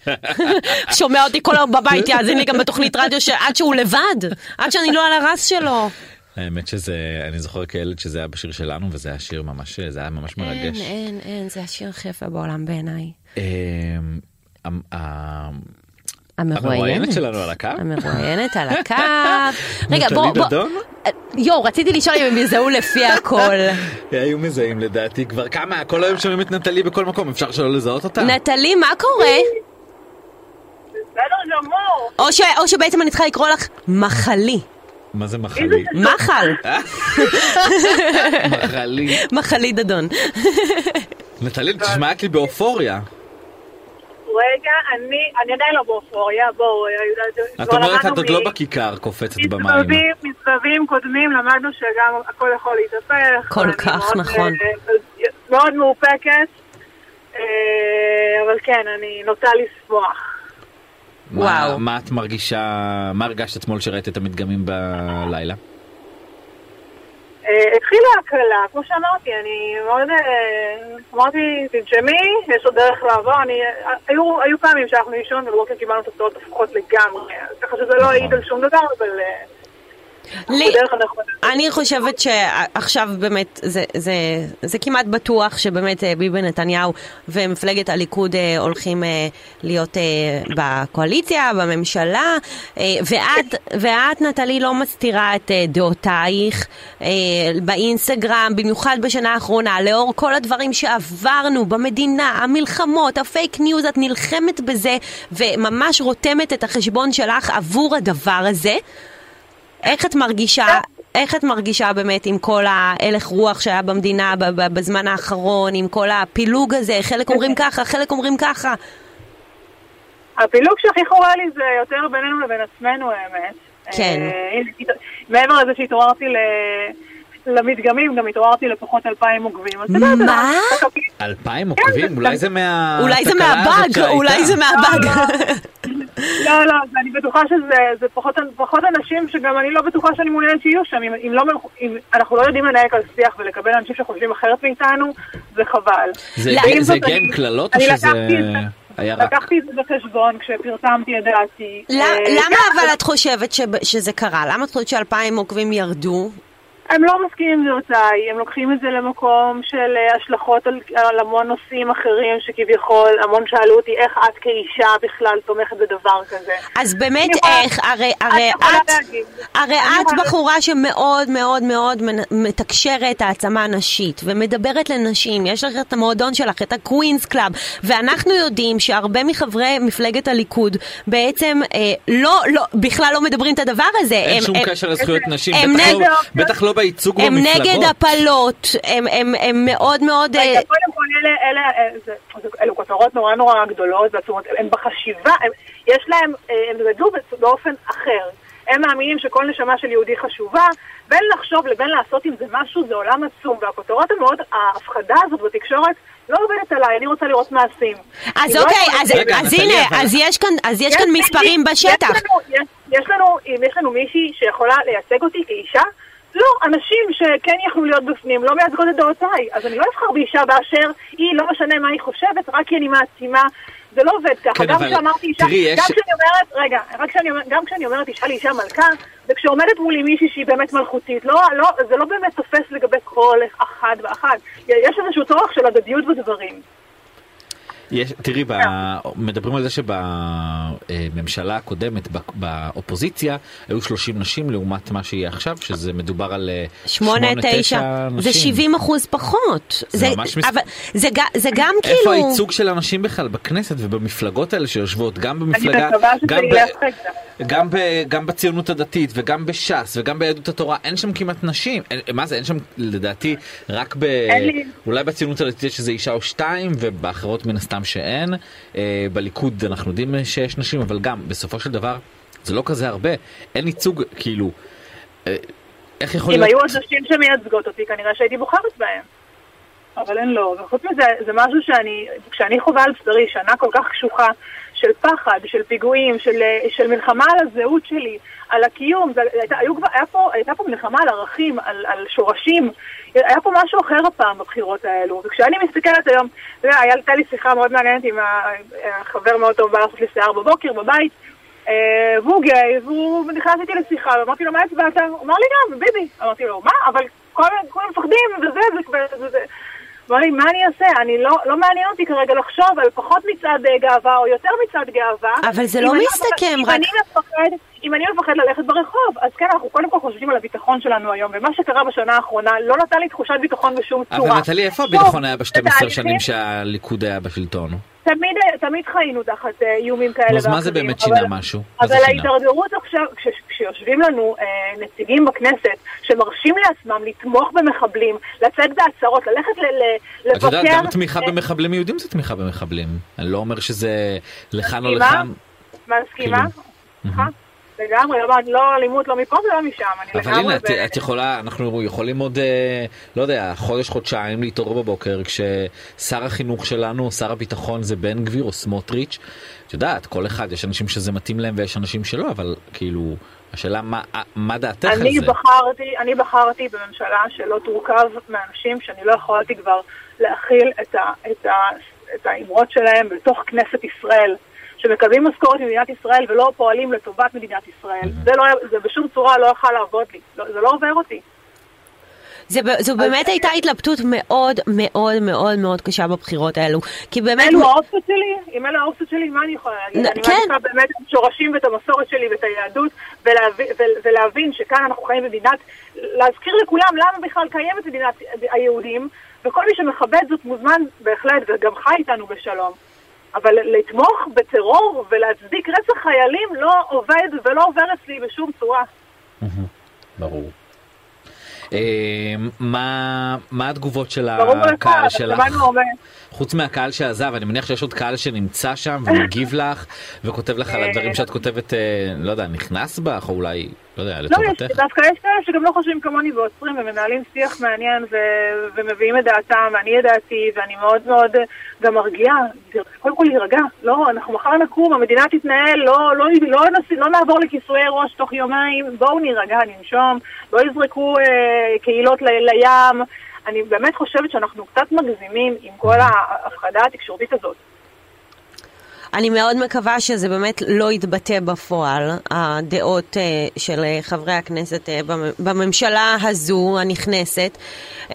S3: שומע אותי כל היום בבית, יאזין לי גם בתוכנית רדיו ש... עד שהוא לבד, עד שאני לא על הרס שלו.
S2: האמת שזה, אני זוכר כילד שזה היה בשיר שלנו, וזה היה שיר ממש, אה, זה היה ממש
S3: אין,
S2: מרגש.
S3: אין, אין, זה השיר הכי יפה בעולם בעיניי.
S2: אמ, אמ, אמ, המרואיינת
S3: המרואיינת.
S2: שלנו על הקו?
S3: המרואיינת על הקו. רגע,
S2: נטלי
S3: בוא, בוא.
S2: דדון?
S3: יואו, רציתי לשאול אם הם יזהו לפי הקול.
S2: כן, היו מזהים לדעתי כבר כמה, כל היום שומעים את נטלי בכל מקום, אפשר שלא לזהות אותה?
S3: נטלי, מה קורה?
S4: בסדר גמור.
S3: או, ש, או שבעצם אני צריכה לקרוא לך מחלי.
S2: מה זה מחלי?
S3: מחל.
S2: מחלי.
S3: מחלי דדון.
S2: נטלי, את נשמעת לי באופוריה.
S4: רגע, אני, אני עדיין לא באופוריה, בואו,
S2: את אומרת, את עוד לא בכיכר קופצת במים.
S4: מסבבים, מסבבים קודמים, למדנו שגם הכל יכול להתהפך.
S3: כל
S4: אני
S3: כך
S4: מאוד,
S3: נכון.
S4: אה, מאוד מאופקת, אה, אבל כן, אני נוטה לשמוח.
S2: מה-
S3: וואו.
S2: מה את מרגישה, מה הרגשת אתמול שראית את המדגמים בלילה?
S4: אה, התחילה הקלה, כמו שאמרתי, אני מאוד... אה, אמרתי, תנשמי, יש עוד דרך לעבור. אני, אה, היו, היו פעמים שאנחנו לישון ובבוקר קיבלנו תוצאות הפוכות לגמרי, ככה שזה
S2: נכון.
S4: לא העיד על שום דבר, אבל... אה,
S3: לי,
S4: בדרך הנכונה.
S3: אני חושבת שעכשיו באמת, זה, זה, זה כמעט בטוח שבאמת אה, ביבי נתניהו ומפלגת הליכוד אה, הולכים אה, להיות אה, בקואליציה, בממשלה, אה, ואת, ואת, נטלי, לא מסתירה את אה, דעותייך אה, באינסטגרם, במיוחד בשנה האחרונה, לאור כל הדברים שעברנו במדינה, המלחמות, הפייק ניוז, את נלחמת בזה, וממש רותמת את החשבון שלך עבור הדבר הזה. איך את מרגישה, איך את מרגישה באמת עם כל ההלך רוח שהיה במדינה ב- ב- בזמן האחרון, עם כל הפילוג הזה, חלק אומרים ככה, חלק אומרים ככה.
S4: הפילוג שהכי חורה לי זה יותר בינינו לבין עצמנו, האמת.
S3: כן.
S4: אה, הת- מעבר לזה שהתעוררתי ל... למדגמים, גם התעוררתי לפחות אלפיים עוקבים. אז בסדר,
S3: מה?
S4: מקבלים.
S2: אלפיים
S4: כן,
S2: עוקבים? אולי זה מה...
S3: אולי זה
S2: אה, התקלה הזאת
S3: מהבאג,
S2: שהייתה.
S3: אולי זה מהבאג.
S4: אה, לא, לא, אז אני בטוחה שזה זה פחות, פחות אנשים שגם אני לא בטוחה שאני מעוניינת שיהיו שם. אם, אם, לא, מלכ- אם אנחנו לא יודעים לנהל כאן שיח ולקבל אנשים שחושבים אחרת מאיתנו, זה חבל.
S2: זה
S3: לא,
S2: גי-
S4: עם
S2: זה
S4: זאת,
S2: גיים
S4: אני-
S2: קללות או
S4: אני
S2: שזה
S4: לקחתי את זה-
S2: היה רק?
S4: לקחתי את זה בחשבון כשפרסמתי את דעתי. אה,
S3: למ- למה אבל את חושבת שב- שזה קרה? למה את חושבת שאלפיים עוקבים ירדו?
S4: הם לא מסכימים עם דעותיי, הם לוקחים את זה למקום של אה, השלכות על, על המון נושאים אחרים שכביכול, המון שאלו אותי איך את כאישה בכלל תומכת בדבר כזה.
S3: אז באמת
S4: אני יכולה-
S3: איך, הרי, הרי
S4: את יכולה
S3: את,
S4: להגיד.
S3: הרי
S4: אני
S3: את
S4: יכולה-
S3: בחורה שמאוד מאוד מאוד מנ- מתקשרת העצמה נשית ומדברת לנשים, יש לך את המועדון שלך, את הקווינס קלאב, ואנחנו יודעים שהרבה מחברי מפלגת הליכוד בעצם אה, לא, לא, בכלל לא מדברים את הדבר הזה.
S2: אין
S3: הם-
S2: שום
S3: הם-
S2: קשר לזכויות נשים,
S3: הם
S2: בטח
S3: נגד-
S2: לא- בטח לא בייצוג
S3: הם
S2: במפלגות.
S3: נגד הפלות, הם, הם, הם מאוד מאוד... אה,
S4: רגע, קודם כל, אלה- אלה- אה, זה- זה- אלו כותרות נורא נורא גדולות ועצומות, הם בחשיבה, הם- יש להם, אה, הם גדלו בצ- באופן אחר. הם מאמינים שכל נשמה של יהודי חשובה, בין לחשוב לבין לעשות עם זה משהו זה עולם עצום, והכותרות המאוד, ההפחדה הזאת בתקשורת לא עובדת עליי, אני רוצה לראות מעשים.
S3: אז
S4: היא לא
S3: אוקיי,
S4: יכולה-
S3: אז,
S2: רגע,
S3: אז
S2: נטלי,
S3: הנה,
S2: אבל-
S3: אז יש כאן, אז יש
S4: יש-
S3: כאן מספרים
S4: יש-
S3: בשטח.
S4: יש לנו- יש- יש לנו, אם יש לנו מישהי שיכולה לייצג אותי כאישה, לא, אנשים שכן יכלו להיות בפנים לא מייצגות את דעותיי. אז אני לא אבחר באישה באשר היא, לא משנה מה היא חושבת, רק כי אני מעצימה. זה לא עובד ככה.
S2: כן,
S4: גם
S2: אבל-
S4: כשאמרתי אישה,
S2: תראי, יש-
S4: גם כשאני אומרת, רגע, רק כשאני אומרת- גם כשאני אומרת אישה לאישה מלכה, וכשעומדת מולי מישהי שהיא באמת מלכותית, לא, לא, זה לא באמת תופס לגבי כל אחד ואחת. יש איזשהו צורך של הדדיות בדברים.
S2: יש, תראי, ב... מדברים על זה שבממשלה הקודמת, בק- באופוזיציה, היו 30 נשים לעומת מה שיהיה עכשיו, שזה מדובר על אה,
S3: שמונה, תשע,
S2: נשים.
S3: זה 70 אחוז פחות.
S2: זה ממש מס-
S3: אבל זה, ג- זה גם כאילו...
S2: איפה הייצוג של הנשים בכלל בכנסת ובמפלגות האלה שיושבות גם במפלגה,
S4: אני מקווה שזה
S2: גם,
S4: ילך
S2: ב...
S4: רגע.
S2: גם, ב... גם בציונות הדתית וגם בש"ס וגם ביהדות התורה אין שם כמעט נשים, אין... מה זה אין שם לדעתי רק ב...
S4: לי.
S2: אולי בציונות הדתית יש איזה אישה או שתיים ובאחרות מן הסתם שאין, אה, בליכוד אנחנו יודעים שיש נשים אבל גם בסופו של דבר זה לא כזה הרבה, אין ייצוג כאילו, אה, איך יכול
S4: אם
S2: להיות,
S4: היו עוד נשים שמייצגות אותי, כנראה שהייתי בוחרת בהן. אבל הן לא. וחוץ מזה, זה משהו שאני, כשאני חווה על בשרי שנה כל כך קשוחה, של פחד, של פיגועים, של, אה, של מלחמה על הזהות שלי, על הקיום. זה, הייתה, היו, כבר- היה פה, הייתה פה מלחמה על ערכים, על, על שורשים. היה פה משהו אחר הפעם בבחירות האלו. וכשאני מסתכלת היום, אתה יודע, היה- הייתה לי שיחה מאוד מעניינת עם ה- החבר מאוד טוב, בא לעשות לי שיער בבוקר, בבית. אה, והוא גיי, והוא נכנס איתי לשיחה, ואמרתי לו, מה הצבעת? הוא אמר לי גם, ביבי. אמרתי לו, מה? אבל כל- כולם מפחדים, וזה, וזה, וזה. אמר לי, מה אני אעשה? אני לא, לא מעניין אותי כרגע לחשוב על פחות מצעד אה, גאווה או יותר מצעד גאווה.
S3: אבל זה
S4: אם
S3: לא
S4: אני
S3: מסתכם
S4: מפחד-
S3: רק-
S4: אם אני לא מפחד, אם אני לא מפחד ללכת ברחוב, אז כן, אנחנו קודם כל חושבים על הביטחון שלנו היום, ומה שקרה בשנה האחרונה לא נתן לי תחושת ביטחון בשום צורה.
S2: אבל נטלי, אה, איפה
S4: שוב,
S2: הביטחון היה ב-12
S4: בתהליכים,
S2: שנים שהליכוד היה בשלטון?
S4: תמיד, אה, תמיד חיינו תחת אה, איומים כאלה
S2: נו, אז מה זה
S4: ואחרים,
S2: באמת
S4: אבל-
S2: שינה משהו? מה זה
S4: אבל
S2: שינה?
S4: ההידרדרות עכשיו, כש- כשיושבים לנו אה, נציגים בכנסת שמרשים לעצמם לתמוך במחבלים, לצאת בהצהרות, ללכת ל- ל-
S2: את
S4: לבקר...
S2: יודעת, גם תמיכה
S4: אה,
S2: במחבלים יהודים זה תמיכה במחבלים. אני לא אומר שזה לכאן או
S4: מסכימה?
S2: לכאן.
S4: מסכימה?
S2: כאילו. מהמם.
S4: אה, לגמרי, לא- לא אלימות, לא מפה ולא משם, אני
S2: אבל
S4: לגמרי...
S2: הנה, את,
S4: ב-
S2: את יכולה, אנחנו יכולים עוד, אה, לא יודע, חודש, חודשיים להתעורר בבוקר, כששר החינוך שלנו, שר הביטחון זה בן גביר או סמוטריץ'. את יודעת, כל אחד, יש אנשים שזה מתאים להם ויש אנשים שלא, אבל כאילו, השאלה מה, מה דעתך על
S4: אני
S2: זה?
S4: בחרתי, אני בחרתי בממשלה שלא תורכב מאנשים שאני לא יכולתי כבר להכיל את, ה, את, ה, את האמרות שלהם בתוך כנסת ישראל, שמקבלים משכורת ממדינת ישראל ולא פועלים לטובת מדינת ישראל. זה, לא, זה בשום צורה לא יכול לעבוד לי, לא, זה לא עובר אותי.
S3: זה, ב- זו באמת הייתה התלבטות מאוד מאוד מאוד מאוד קשה בבחירות האלו. כי באמת...
S4: אלו האופציות שלי, אם אלה האופציות שלי, מה אני יכולה
S3: נ-
S4: להגיד? אני
S3: כן.
S4: מעדיפה באמת את השורשים ואת המסורת שלי ואת היהדות, ולהבין- ו- ולהבין שכאן אנחנו חיים במדינת, להזכיר לכולם למה בכלל קיימת מדינת היהודים, וכל מי שמכבד זאת מוזמן בהחלט, וגם חי איתנו בשלום. אבל לתמוך בטרור ולהצדיק רצח חיילים לא עובד ולא עובר אצלי בשום צורה.
S2: ברור. אה, מה, מה התגובות של
S4: ברור לך,
S2: אה, הקהל
S4: אבל
S2: שלך?
S4: שמענו הרבה.
S2: חוץ מהקהל שעזב, אני מניח שיש עוד קהל שנמצא שם ומגיב לך וכותב לך על הדברים שאת כותבת, אה, לא יודע, נכנס בך או אולי, לא יודע,
S4: לא, יש,
S2: לטובתך.
S4: דווקא יש כאלה שגם לא חושבים כמוני ועוצרים ומנהלים שיח מעניין ו, ומביאים את דעתם, ואני את דעתי, ואני מאוד מאוד אה, גם מרגיעה. קודם כל להירגע, לא, אנחנו מחר נקום, המדינה תתנהל, לא, לא, לא, נס, לא נעבור לכיסויי ראש תוך יומיים, בואו נירגע, ננשום, לא יזרקו אה, קהילות ל, לים. אני באמת חושבת שאנחנו קצת מגזימים עם כל ההפחדה התקשורתית הזאת.
S3: אני מאוד מקווה שזה באמת לא יתבטא בפועל, הדעות אה, של אה, חברי הכנסת אה, במ- בממשלה הזו הנכנסת,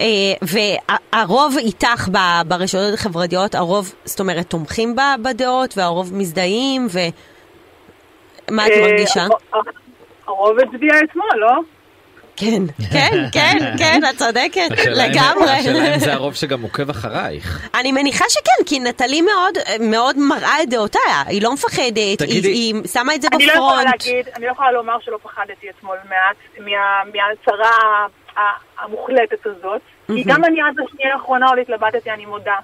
S3: אה, והרוב איתך ב- ברשתות החברתיות, הרוב, זאת אומרת, תומכים ב- בדעות, והרוב מזדהים, ומה את
S4: אה,
S3: מרגישה?
S4: הר- הר- הרוב הצביע אתמול, לא?
S3: כן, כן, כן, כן, את צודקת,
S2: השאלה אם- השאלה
S3: לגמרי.
S2: אם זה הרוב שגם עוקב אחרייך.
S3: אני מניחה שכן, כי נטלי מאוד, מאוד מראה את דעותיה, היא לא מפחדת, היא,
S2: תגידי-
S3: היא שמה את זה
S4: אני לא יכולה
S3: בפרונט.
S4: להגיד, אני לא יכולה לומר שלא פחדתי אתמול מעט מה- מההצהרה ה- ה- המוחלטת הזאת, כי גם אני עד השנייה האחרונה עוד התלבטתי, אני מודה.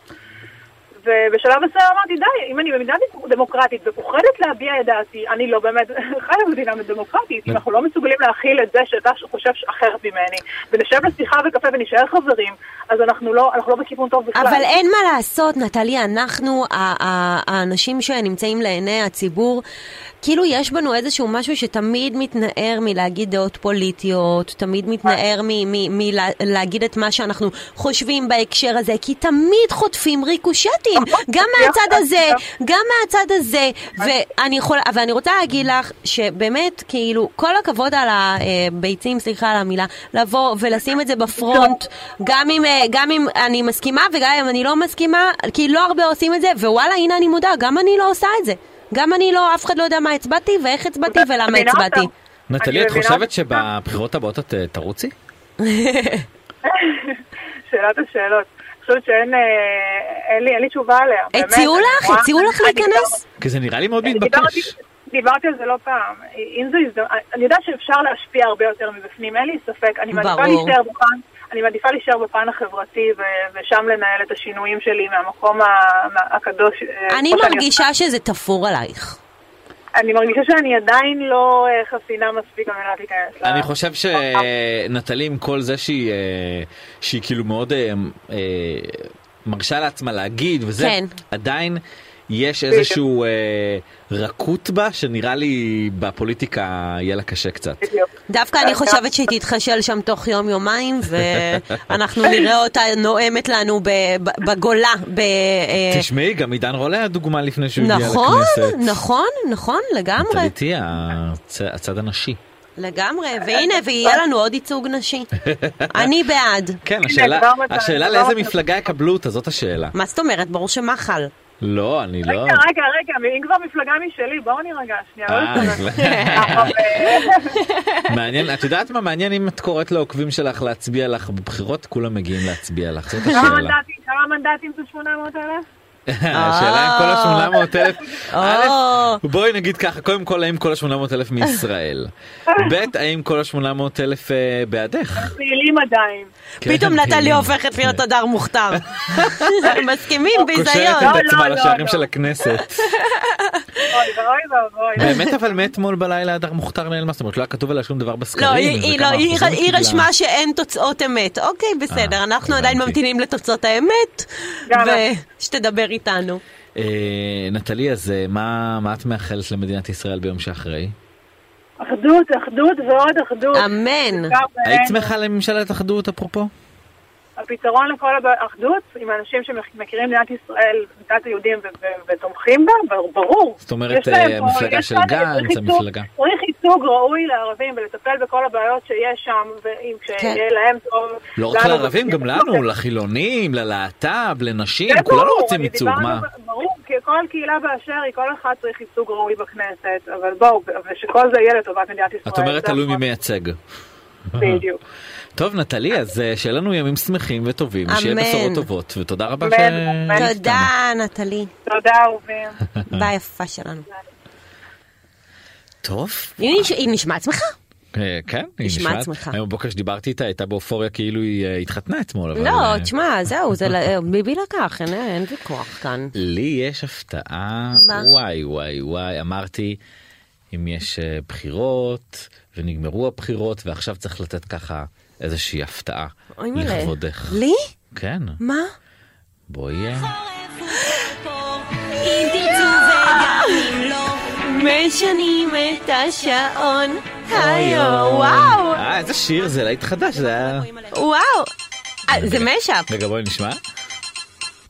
S4: ובשלב מסוים אמרתי, די, אם אני במדינה דמוקרטית ופוחדת להביע את דעתי, אני לא באמת חיה במדינה
S3: כן.
S4: דמוקרטית, אם אנחנו לא מסוגלים להכיל את זה שאתה חושב אחרת ממני, ונשב לשיחה וקפה ונישאר חברים, אז אנחנו לא אנחנו לא בכיוון טוב בכלל.
S3: אבל אין מה לעשות, נטלי, אנחנו, ה- ה- האנשים שנמצאים לעיני הציבור, כאילו יש בנו איזשהו משהו שתמיד מתנער מלהגיד דעות פוליטיות, תמיד מתנער מלהגיד את מה שאנחנו חושבים בהקשר הזה, כי תמיד חוטפים ריקושטים,
S4: נכון.
S3: גם מהצד הזה, גם מהצד הזה, ואני יכולה, אבל אני רוצה להגיד לך שבאמת, כאילו, כל הכבוד על הביצים, סליחה על המילה, לבוא ולשים את זה בפרונט,
S4: לא.
S3: גם אם, אה, גם אם אני מסכימה וגם אם אני לא מסכימה, כי לא הרבה עושים את זה, ווואלה, הנה אני מודה, גם אני לא עושה את זה. גם אני לא, אף אחד לא יודע מה הצבעתי ואיך הצבעתי ולמה
S4: מבינה אותך.
S3: הצבעתי.
S2: נטלי,
S4: אני
S2: את
S4: מבינה
S2: חושבת
S4: אותך.
S2: שבבחירות הבאות את אה, תרוצי?
S4: שאלת השאלות. אני חושבת שאין אה, אין לי, אין לי תשובה עליה. באמת,
S3: הציעו
S4: אני
S3: לך?
S4: רואה-
S3: הציעו לך
S4: אני
S3: להיכנס?
S2: כי זה נראה לי מאוד
S4: דיברתי- דיברתי-
S2: מתבקש.
S4: דיברתי על זה לא פעם. אם זה הזדמנות, אני יודעת שאפשר להשפיע הרבה יותר מבפנים, אין לי ספק. אני מעדיפה
S3: ברור.
S4: להישאר בפן, אני מעדיפה להישאר בפן החברתי ו- ושם לנהל את השינויים שלי מהמקום ה- מה- הקדוש. אה,
S3: אני
S4: כמו שאני
S3: מרגישה שזה תפור עלייך.
S4: עושה. אני מרגישה שאני עדיין לא אה, חסינה מספיק על מנת להיכנס. ל-
S3: אה,
S2: אני חושב שנטלי עם כל זה שהיא אה, שהיא כאילו מאוד אה, אה, מרשה לעצמה להגיד וזה
S3: כן.
S2: עדיין יש איזשהו אה, רכות בה, שנראה לי בפוליטיקה יהיה לה קשה קצת.
S4: בדיוק.
S3: דווקא אני חושבת שהיא תתחשל שם תוך יום-יומיים, ואנחנו נראה אותה נואמת לנו ב- ב- בגולה. ב- אה,
S2: תשמעי, גם עידן רול היה דוגמה לפני שהוא הגיע לכנסת.
S3: נכון, נכון, נכון,
S2: מצד
S3: לגמרי,
S2: איתי, הצ- הצד הנשי.
S3: לגמרי, והנה, ויהיה לנו עוד ייצוג נשי. אני בעד.
S2: כן, השאלה,
S4: כבר מצאנו,
S2: השאלה
S4: כבר
S2: לאיזה
S4: מצאנו.
S2: מפלגה יקבלו אותה, זאת השאלה.
S3: מה זאת אומרת? ברור שמחל.
S2: לא, אני לא...
S4: רגע, רגע, רגע, אם כבר מפלגה משלי, בואו נירגע שנייה. לא
S2: אה,
S4: להתכונן.
S2: אז-
S4: אבל, אה,
S2: מעניין, את יודעת מה מעניין אם את קוראת לעוקבים שלך להצביע לך בבחירות, כולם מגיעים להצביע לך, זאת
S4: כמה
S2: השאלה.
S4: מנדטים- כמה מנדטים זה 800 אלף?
S2: השאלה אם כל ה-800 אלף,
S3: או.
S2: א', בואי נגיד ככה, קודם כל האם כל ה-800 אלף מישראל, ב', האם כל ה-800 אלף בעדך.
S4: פעילים עדיין.
S2: כן,
S3: פתאום נטלי
S2: פעילים.
S3: הופכת להיות הדר מוכתר. מסכימים,
S2: קושרת
S3: ביזיון.
S4: לא,
S2: את עצמה
S4: לא,
S2: לשערים
S4: לא.
S2: של הכנסת.
S4: אוי ואוי ואבוי.
S2: באמת אבל מאתמול בלילה הדר מוכתר נעלמה, זאת אומרת לא היה כתוב עליה שום דבר בסקרים.
S3: לא, היא- היא
S2: וכמה
S3: לא, היא-
S2: אחוזים
S3: היא
S2: קיבלה.
S3: רשמה שאין תוצאות אמת. אוקיי, בסדר,
S2: אה,
S3: אנחנו עדיין
S2: הבנתי.
S3: ממתינים לתוצאות האמת,
S4: יאללה.
S3: ושתדבר איתנו.
S2: אה, נטלי, אז אה, מה מה את מאחלת למדינת ישראל ביום שאחרי?
S4: אחדות, אחדות ועוד אחדות.
S3: אמן.
S4: גם, אה,
S2: אמ- היית שמחה לממשלת אחדות אפרופו?
S4: הפתרון לכל האחדות עם אנשים שמכירים מדינת ישראל, מדינת היהודים ו- ו- ותומכים בה, בר- ברור.
S2: זאת אומרת,
S4: יש להם-
S2: אה, המפלגה
S4: יש
S2: של
S4: להם-
S2: גנץ,
S4: צריך ייצוג-
S2: המפלגה.
S4: צריך ייצוג ראוי לערבים ולטפל בכל הבעיות שיש שם, ואם
S2: כן.
S4: כשיהיה להם טוב...
S2: לא רק
S4: לנו-
S2: לערבים, גם לנו, לחילונים, ללהט"ב, לנשים,
S4: כן,
S2: כולנו
S4: ברור,
S2: רוצים
S4: אני
S2: ייצוג,
S4: דיברנו
S2: מה?
S4: ב- ברור, כי כל קהילה באשר היא, כל אחד צריך ייצוג ראוי בכנסת, אבל בואו, ושכל זה יהיה לטובת מדינת ישראל.
S2: את אומרת
S4: זה
S2: תלוי
S4: הכל.
S2: מי מייצג.
S4: בדיוק.
S2: טוב, נטלי, אז אה, שיהיה לנו ימים שמחים וטובים, ושיהיה
S3: אמן.
S2: בשורות טובות, ותודה רבה
S4: אמן,
S2: ש-
S4: אמן.
S3: תודה, נטלי.
S4: תודה, אהובים.
S3: ביי יפה שלנו.
S2: טוב.
S3: היא נש- היא נשמעת שמחה?
S2: אה, כן, היא
S3: נשמעת
S2: נשמעת.
S3: שמחה.
S2: היום בבוקר שדיברתי איתה, הייתה באופוריה כאילו היא אה, התחתנה אתמול. אבל,
S3: לא,
S2: אה,
S3: תשמע, זהו, זה ל- אה, ביבי לקח, אין- אין ויכוח כאן.
S2: לי יש הפתעה,
S3: מה?
S2: וואי וואי וואי, אמרתי, אם יש אה, בחירות, ונגמרו הבחירות, ועכשיו צריך לתת ככה איזושהי הפתעה
S3: אוי מלא.
S2: לכבודך.
S3: לי?
S2: כן,
S3: מה?
S2: בואי, אה,
S5: אם תרצו וגם אם לא,
S3: משנים את השעון היום.
S2: אוי.
S3: וואו,
S2: אה, איזה שיר זה, להיט חדש, זה היה...
S3: וואו. אה, זה משאפ.
S2: רגע, בואי נשמע.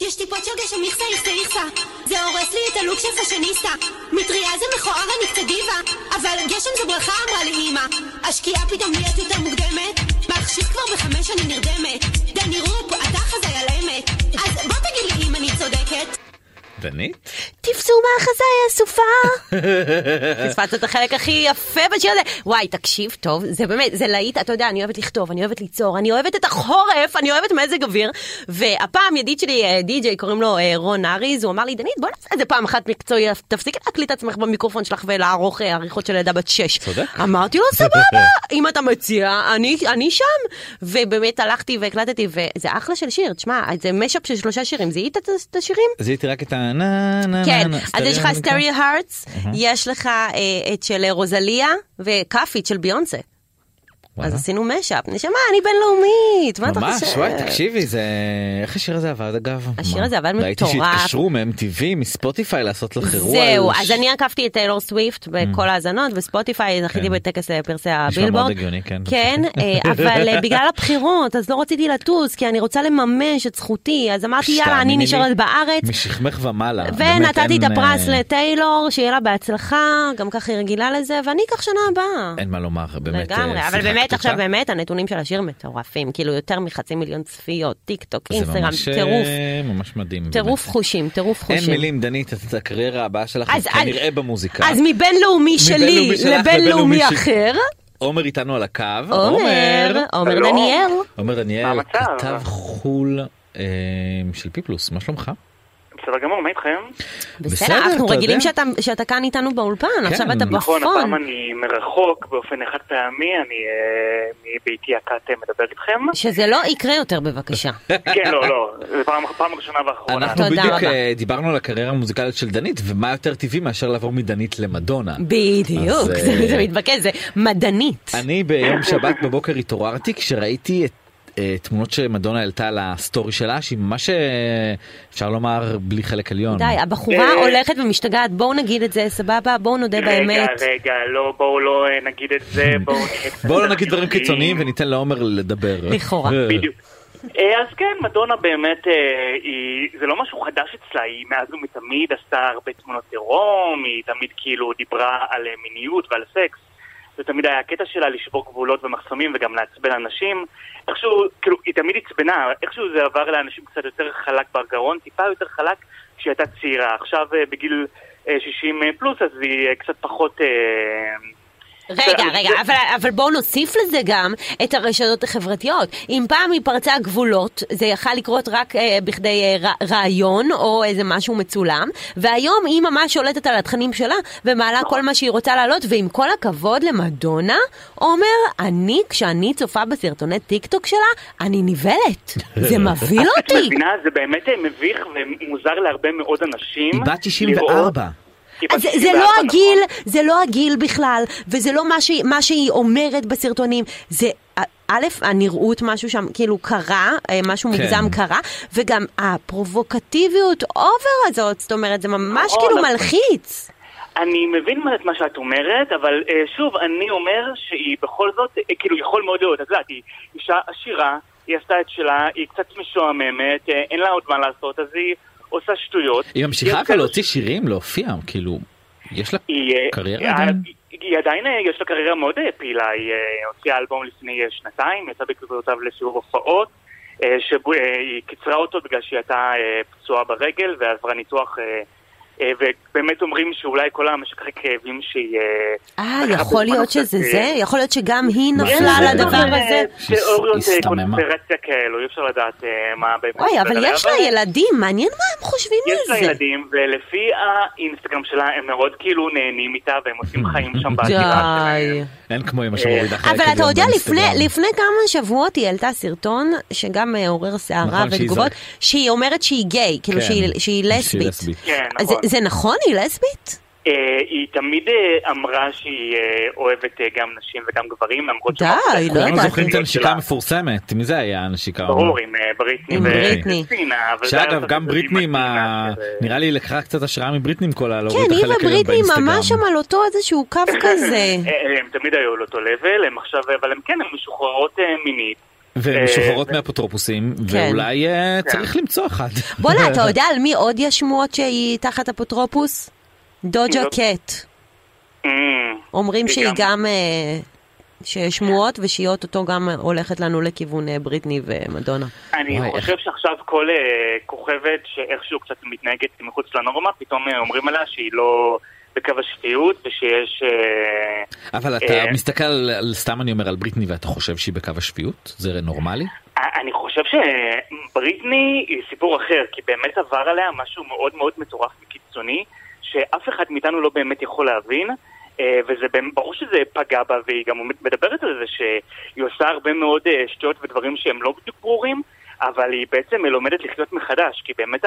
S5: יש טיפות של גשם איכסה איכסה איכסה זה הורס לי את הלוק של פאשיניסטה מטריה זה מכוער אני קצת דיבה אבל גשם זה ברכה אמרה לי אמא השקיעה פתאום נהיית יותר מוקדמת מחשיך כבר בחמש אני נרדמת דני רופ אתה חזאי על אמת אז בוא תגיד לי אם אני צודקת
S2: דנית?
S3: תפסו מאחזי הסופה. פספסת את החלק הכי יפה בשיר הזה. וואי, תקשיב טוב, זה באמת, זה להיט, אתה יודע, אני אוהבת לכתוב, אני אוהבת ליצור, אני אוהבת את החורף, אני אוהבת מזג אוויר. והפעם ידיד שלי, אה, די-ג'יי, קוראים לו אה, רון אריז, הוא אמר לי, דנית, בוא נעשה את זה פעם אחת מקצועי, תפסיקי להקליט את עצמך במיקרופון שלך ולערוך אה, עריכות של ילדה בת שש.
S2: צודק.
S3: אמרתי לו, סבבה, אם אתה מציע, אני, אני שם. ובאמת הלכתי והקלטתי, וזה אחלה של שיר, תשמע, זה משאפ של שלושה שירים, זיהית את- את השירים?
S2: זיהיתי רק את ה... נה נה
S3: כן,
S2: נה נה.
S3: אז יש לך
S2: סטריאו נקרא?
S3: סטריאו הארטס, יש לך אה, את של רוזליה וכאפית של ביונסה.
S2: וואלה.
S3: אז עשינו משאפ. נשמה, אני בינלאומית, מה אתה
S2: ממש,
S3: חושב?
S2: וואי, תקשיבי, זה... איך השיר הזה עבד אגב?
S3: השיר
S2: מה?
S3: הזה עבד
S2: ראיתי
S3: מטורף.
S2: שהתקשרו מ-MTV, מספוטיפיי לעשות לך אירוע.
S3: זהו,
S2: על ש-
S3: אז אני עקפתי את טיילור סוויפט בכל ההאזנות, בספוטיפיי זכיתי
S2: כן.
S3: בטקס אה, פרסי הבילבורד.
S2: הגיוני, כן.
S3: כן, אה, אבל אה, בגלל הבחירות, אז לא רציתי לטוס, כי אני רוצה לממש את זכותי, אז אמרתי, יאללה, אני
S2: שתאמיני לי,
S3: נשארת בארץ.
S2: משכמך ומעלה. באמת,
S3: ונתתי את
S2: אין,
S3: הפרס
S2: אה,
S3: לטיילור, שיהיה לה בהצלחה, גם ככה היא רגילה לזה, ואני אקח שנה הבאה.
S2: אין מה לומר, באמת.
S3: לגמרי,
S2: אה,
S3: אבל באמת
S2: שיחקת
S3: עכשיו
S2: אותה.
S3: באמת הנתונים של השיר מטורפים, כאילו יותר מחצי מיליון צפיות, טיק טוק,
S2: זה
S3: אינסטגרם,
S2: ממש, אה,
S3: טירוף,
S2: ממש מדהים.
S3: טירוף
S2: באמת.
S3: חושים, טירוף חושים.
S2: אין מילים, דנית, את הקריירה הבאה שלך
S3: אז-
S2: כנראה
S3: אז-
S2: במוזיקה.
S3: אז מבינלאומי
S2: מבינלאומי
S3: שלי
S2: שלך לבינלאומי
S3: לבינלאומי
S2: ש-
S3: אחר,
S2: עומר איתנו על הקו.
S3: עומר, עומר
S6: שלום.
S3: דניאל,
S2: עומר
S6: מה
S2: דניאל,
S6: המצב?
S2: כתב חול אה, של פיקלוס, מה שלומך?
S6: בסדר גמור, מה איתכם?
S2: בסדר,
S3: בסדר, אנחנו
S2: אתה
S3: רגילים
S2: יודע. כן.
S3: שאתה- שאתה כאן איתנו באולפן, עכשיו אתה
S6: נכון, הפעם
S3: בפון,
S6: אני מרחוק באופן חד פעמי, אני אה, מביתי הקאט אה, מדבר איתכם.
S3: שזה לא יקרה יותר בבקשה.
S6: כן, לא, לא, זו פעם- פעם ראשונה ואחרונה.
S2: אנחנו
S3: תודה
S2: בדיוק
S3: רבה.
S2: אה, דיברנו על הקריירה המוזיקלית של דנית, ומה יותר טבעי מאשר לעבור מדנית למדונה.
S3: בדיוק,
S2: אז,
S3: זה
S2: אה,
S3: זה מתבקש, זה מדענית.
S2: אני ביום שבת בבוקר התעוררתי כשראיתי את... אה, תמונות שמדונה העלתה על הסטורי שלה, שהיא ממש, אה, אפשר לומר, בלי חלק עליון.
S3: די, הבחורה
S6: אה.
S3: הולכת ומשתגעת, בואו נגיד את זה, סבבה, בואו נודה באמת.
S6: רגע, רגע, לא, בואו לא אה, נגיד את זה, בואו נהיה קצת
S2: בואו לא נגיד דברים
S6: חיוביים.
S2: קיצוניים וניתן לעומר לדבר.
S3: לכאורה.
S2: אה.
S6: בדיוק. אה, אז כן, מדונה באמת, אה, היא- זה לא משהו חדש אצלה, היא מאז ומתמיד עשתה הרבה תמונות עירום, היא תמיד כאילו דיברה על אה, מיניות ועל סקס. זה תמיד היה הקטע שלה לשבור גבולות ומחסומים וגם לעצבן אנשים. איכשהו, כאילו, היא תמיד עצבנה, איכשהו זה עבר לאנשים קצת יותר חלק בגרון, טיפה יותר חלק כשהיא הייתה צעירה. עכשיו אה, בגיל אה, 60 פלוס, אז היא אה, קצת פחות... אה,
S3: רגע,
S6: זה-
S3: רגע, אבל, אבל בואו נוסיף לזה גם את הרשתות החברתיות. אם פעם היא פרצה גבולות, זה יכל לקרות רק אה, בכדי אה, ר- רעיון או איזה משהו מצולם, והיום היא ממש שולטת על התכנים שלה ומעלה כל מה שהיא רוצה להעלות, ועם כל הכבוד למדונה, עומר, אני, כשאני צופה בסרטוני טיק טוק שלה, אני נבהלת. זה מבהיל
S6: את
S3: אותי.
S6: מבינה, זה באמת אה, מביך ומוזר להרבה מאוד אנשים.
S2: היא בת
S6: לראות-
S2: 64.
S6: היא בת
S3: אז זה, זה
S6: 64,
S3: לא
S6: נכון.
S3: הגיל, זה לא הגיל בכלל, וזה לא מה, ש, מה שהיא אומרת בסרטונים. זה, א- א', הנראות, משהו שם כאילו קרה, אה, משהו
S2: כן.
S3: מוגזם קרה, וגם הפרובוקטיביות אובר הזאת, זאת אומרת, זה ממש
S6: נכון,
S3: כאילו
S6: אבל-
S3: מלחיץ.
S6: נכון. אני מבין מה- את מה שאת אומרת, אבל אה, שוב, אני אומר שהיא בכל זאת, אה, כאילו, יכול מאוד להיות, את יודעת, היא אישה עשירה, היא עשתה את שלה, היא קצת משועממת, אה, אין לה עוד מה לעשות, אז היא עושה שטויות.
S2: היא ממשיכה
S6: עושה-
S2: אבל להוציא שירים, להופיע, כאילו, יש לה
S6: היא, אה,
S2: קריירה
S6: אה,
S2: עדיין?
S6: היא- היא עדיין, אה, יש לה קריירה מאוד אה, פעילה, היא אה, הוציאה אלבום לפני אה, שנתיים, יצאה בעקבותיו לסיבוב הופעות, אה, שבו- אה, היא קיצרה אותו בגלל שהיא הייתה אה, פצועה ברגל ועברה ניתוח, אה, אה, ובאמת אומרים שאולי כל המשככי כאבים שהיא...
S3: אה, יכול להיות שזה
S6: אה,
S3: זה? יכול להיות שגם היא
S6: נכון.
S3: נפלה
S2: זה?
S3: על הדבר
S2: אבל,
S3: הזה?
S6: תיאוריות אה,
S2: הסתממה.
S6: קונספירציה כאלו, אי אפשר לדעת אה, מה באמת...
S3: אוי, אבל
S6: עליה,
S3: יש לה ילדים, מעניין מה הם חושבים על
S6: יש
S3: זה.
S6: לה ילדים, ולפי האינסטגרם שלה הם מאוד כאילו נהנים איתה והם עושים חיים שם בעתירה
S3: די.
S2: אין כמו אמא שמורידה
S6: אה,
S2: חלק
S3: אבל אתה
S2: עליון
S3: יודע, לפני,
S2: באינסטגרם.
S3: לפני כמה שבועות היא העלתה סרטון שגם אה, עורר סערה
S2: נכון, שהיא
S3: ותגובות,
S2: זרק-
S3: שהיא אומרת שהיא גיי, כאילו
S2: כן.
S3: שהיא, שהיא לסבית.
S6: כן,
S3: אז
S6: נכון.
S3: זה, זה נכון? היא לסבית?
S6: אה, היא תמיד אה, אמרה שהיא אה, אוהבת אה, גם נשים וגם גברים, למרות
S3: די, לא
S2: כולנו
S3: יודעת.
S2: זוכרים את הנשיקה
S6: שלה.
S2: המפורסמת, מי זה היה הנשיקה?
S6: כן. ברור, עם אה, בריטני
S3: עם
S6: ו-
S3: בריטני.
S6: וקריסטינה, אבל זה היה
S2: שאגב,
S6: לעשות
S2: גם
S6: את זה
S2: בריטני,
S6: עם
S2: עם ה-
S6: הקריסטינה, ו-
S2: נראה לי לקחה קצת השראה מבריטני עם כל הלהוריד
S3: כן,
S2: את
S3: היא
S2: החלק העליון
S3: ובריטני
S2: באינסטגרם.
S3: ממש שם על אותו איזשהו קו כזה.
S6: אה, הם תמיד היו על אותו לבל, הם עכשיו, אבל הם כן, הם משוחררות אה, מינית.
S2: והן
S6: אה,
S2: משוחררות
S6: ו-
S2: מאפוטרופוסים,
S3: כן.
S2: ואולי אה,
S6: כן.
S2: צריך למצוא אחת.
S3: בואנה, אתה יודע על מי עוד יש שמועות שהיא תחת אפוטרופוס? דוג'ה
S6: לא.
S3: קט.
S6: אמ,
S3: אומרים
S6: היא
S3: שהיא
S6: גם-
S3: גם... אה, שיש שמועות ושהיא אוטוטו גם אה, הולכת לנו לכיוון אה, בריטני ומדונה.
S6: אני
S2: וואי,
S6: חושב שעכשיו כל אה, כוכבת שאיכשהו קצת מתנהגת מחוץ לנורמה, פתאום אה, אומרים עליה שהיא לא בקו השפיות ושיש... אה,
S2: אבל אתה
S6: אה.
S2: מסתכל, על- על- סתם אני אומר, על בריטני ואתה חושב שהיא בקו השפיות? זה נורמלי?
S6: אני חושב שבריטני היא סיפור אחר, כי באמת עבר עליה משהו מאוד מאוד מטורף וקיצוני, שאף אחד מאיתנו לא באמת יכול להבין, אה, וזה באמת- ברור שזה פגע בה, והיא גם מדברת על זה שהיא עושה הרבה מאוד אה, שטויות ודברים שהם לא בדיוק ברורים, אבל היא בעצם לומדת לחיות מחדש, כי באמת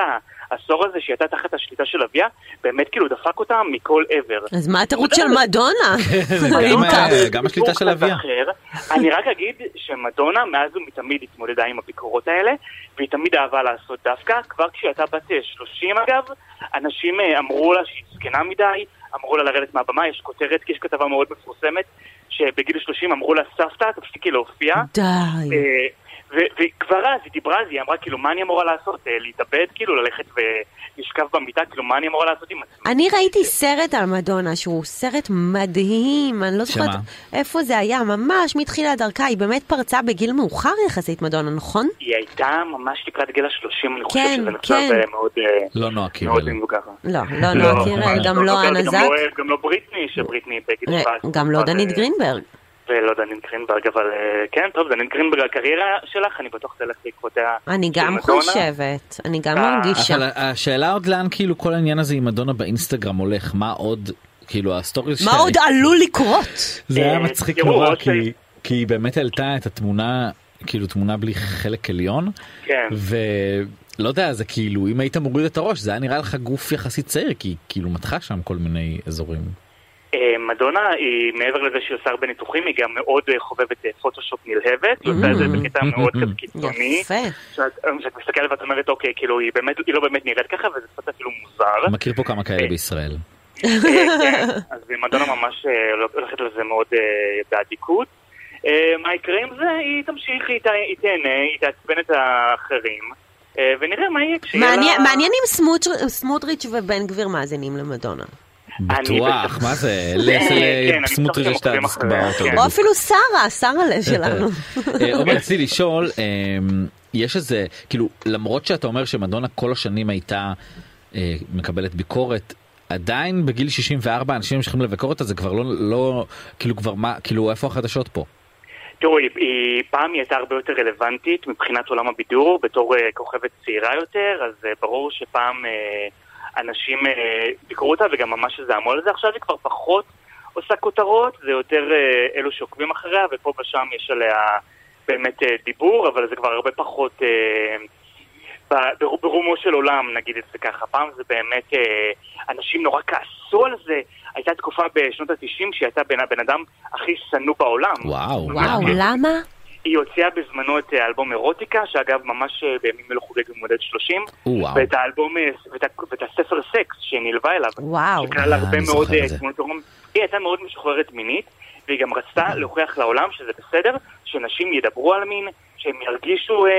S6: העשור הזה שהיא הייתה תחת השליטה של אביה, באמת כאילו דפק אותה מכל עבר.
S3: אז מה התירוץ
S6: לא.
S3: של מדונה?
S2: גם,
S3: אם כך.
S2: אה, גם השליטה של
S6: סיפור קצת
S2: אביה.
S6: אחר. אני רק אגיד שמדונה מאז ומתמיד התמודדה עם הביקורות האלה, והיא תמיד אהבה לעשות דווקא. כבר כשהיא הייתה בת אה, 30 אגב, אנשים אה, אמרו לה שהיא זקנה מדי, אמרו לה לרדת מהבמה, יש כותרת, יש כתבה מאוד מפורסמת, שבגיל 30 אמרו לה, סבתא, תפסיקי להופיע.
S3: די.
S6: אה, ו- וכבר אז היא דיברה על זה, היא אמרה, כאילו, מה אני אמורה לעשות? אה, להתאבד? כאילו, ללכת ולשכב במיטה? כאילו, מה אני אמורה לעשות עם עצמי?
S3: אני ראיתי סרט על מדונה שהוא סרט מדהים, אני לא
S2: שמה?
S3: זוכרת איפה זה היה, ממש מתחילת דרכה, היא באמת פרצה בגיל מאוחר יחסית מדונה, נכון?
S6: היא הייתה ממש לקראת גיל השלושים, אני חושב
S3: כן,
S6: שזה נחשב
S3: כן.
S6: אה, מאוד... אה,
S2: לא נועה קיבל.
S6: מאוד מבוגר.
S3: לא, לא נועה קירל, גם לא אנה
S6: גם נכון. לא-
S3: זק,
S6: גם לא בריטני, שבריטני בגיל
S3: ר-
S6: 17,
S3: גם לא
S6: אבל,
S3: דנית
S6: אה,
S3: גרינברג.
S6: ולא דנית גרינברג, אבל אה, כן, טוב, דנית גרינברג, הקריירה שלך, אני בטוח תלך בעקבותיה.
S3: אני
S6: של
S3: גם
S6: מדונה.
S3: חושבת, אני גם
S6: אה,
S3: מרגישה.
S2: אבל השאלה עוד לאן כאילו כל העניין הזה עם מדונה באינסטגרם הולך, מה עוד, כאילו הסטורי
S3: מה עוד עלול לקרות?
S2: זה היה
S6: אה,
S2: מצחיק
S6: תראו,
S2: נורא,
S6: עוד
S2: כי- כי היא באמת העלתה את התמונה, כאילו תמונה בלי חלק עליון,
S6: כן.
S2: ולא יודע, זה כאילו, אם היית מוריד את הראש, זה היה נראה לך גוף יחסית צעיר, כי היא כאילו מתחה שם כל מיני אזורים.
S6: אה, מדונה, היא, מעבר לזה שהיא עושה הרבה ניתוחים, היא גם מאוד אה, חובבת אה, פוטושופ נלהבת, היא עושה את זה בקטע מאוד כזה קיצוני.
S3: Mm-hmm. יפה.
S6: שאת אה, שאת מסתכלת ואת אומרת, אוקיי, כאילו, היא באמת, היא לא באמת נראית ככה, וזה קצת אפילו מוזר.
S2: מכיר פה כמה כאלה בישראל.
S6: אה, כן, אז מדונה ממש אה, הולכת על זה מאוד אה, באדיקות. אה, מה יקרה עם זה? היא תמשיך, היא ת- היא תהנה, היא תעצבן את האחרים, אה, ונראה מה יהיה כשיהיה לה...
S3: מעניין מעניין אם סמוטר- סמוטריץ' ובן גביר מאזינים למדונה.
S2: בטוח,
S6: בטח-
S2: מה זה? אה,
S6: כן, כן, אני
S2: סמוטריץ'
S6: בטוח שהם
S2: שאתה
S6: עוקבים אחריה,
S2: באוטו.
S6: כן.
S3: או אפילו שרה, שרה לב שלנו.
S6: אוקיי.
S2: אה, עומר, רציתי לשאול, אמ, יש איזה, כאילו, למרות שאתה אומר שמדונה כל השנים הייתה אה, מקבלת ביקורת, עדיין בגיל 64 אנשים ממשיכים לביקורת, אז זה כבר לא, לא, כאילו כבר מה, כאילו איפה החדשות פה?
S6: תראו, היא, היא, פעם היא הייתה הרבה יותר רלוונטית מבחינת עולם הבידור, בתור אה, כוכבת צעירה יותר, אז אה, ברור שפעם אה, אנשים אה, ביקרו אותה וגם ממש זעמו על זה, עכשיו היא כבר פחות עושה כותרות, זה יותר אה, אלו שעוקבים אחריה, ופה ושם יש עליה באמת אה, דיבור, אבל זה כבר הרבה פחות אה, ב- בר- ברומו של עולם, נגיד את זה ככה. פעם זה באמת, אה, אנשים נורא כעסו על זה. הייתה תקופה בשנות ה-90 שהיא הייתה בן, הבן אדם הכי שנוא בעולם.
S2: וואו.
S3: וואו,
S6: כן.
S3: למה?
S6: היא הוציאה בזמנו את אה, אלבום אירוטיקה, שאגב ממש אה, בימים אלו חוגג במודד 30,
S2: וואו.
S6: ואת האלבום, אה, ואת, ה- ואת הספר סקס שנלווה אליו,
S3: וואו.
S6: שכלל
S2: אה,
S6: הרבה
S2: אני
S6: מאוד
S2: זוכר את
S6: אה,
S2: זה.
S6: תמונות עירום. היא הייתה מאוד משוחררת מינית, והיא גם
S2: אוקיי.
S6: רצתה להוכיח לעולם שזה בסדר, שנשים ידברו על מין, שהן ירגישו אה,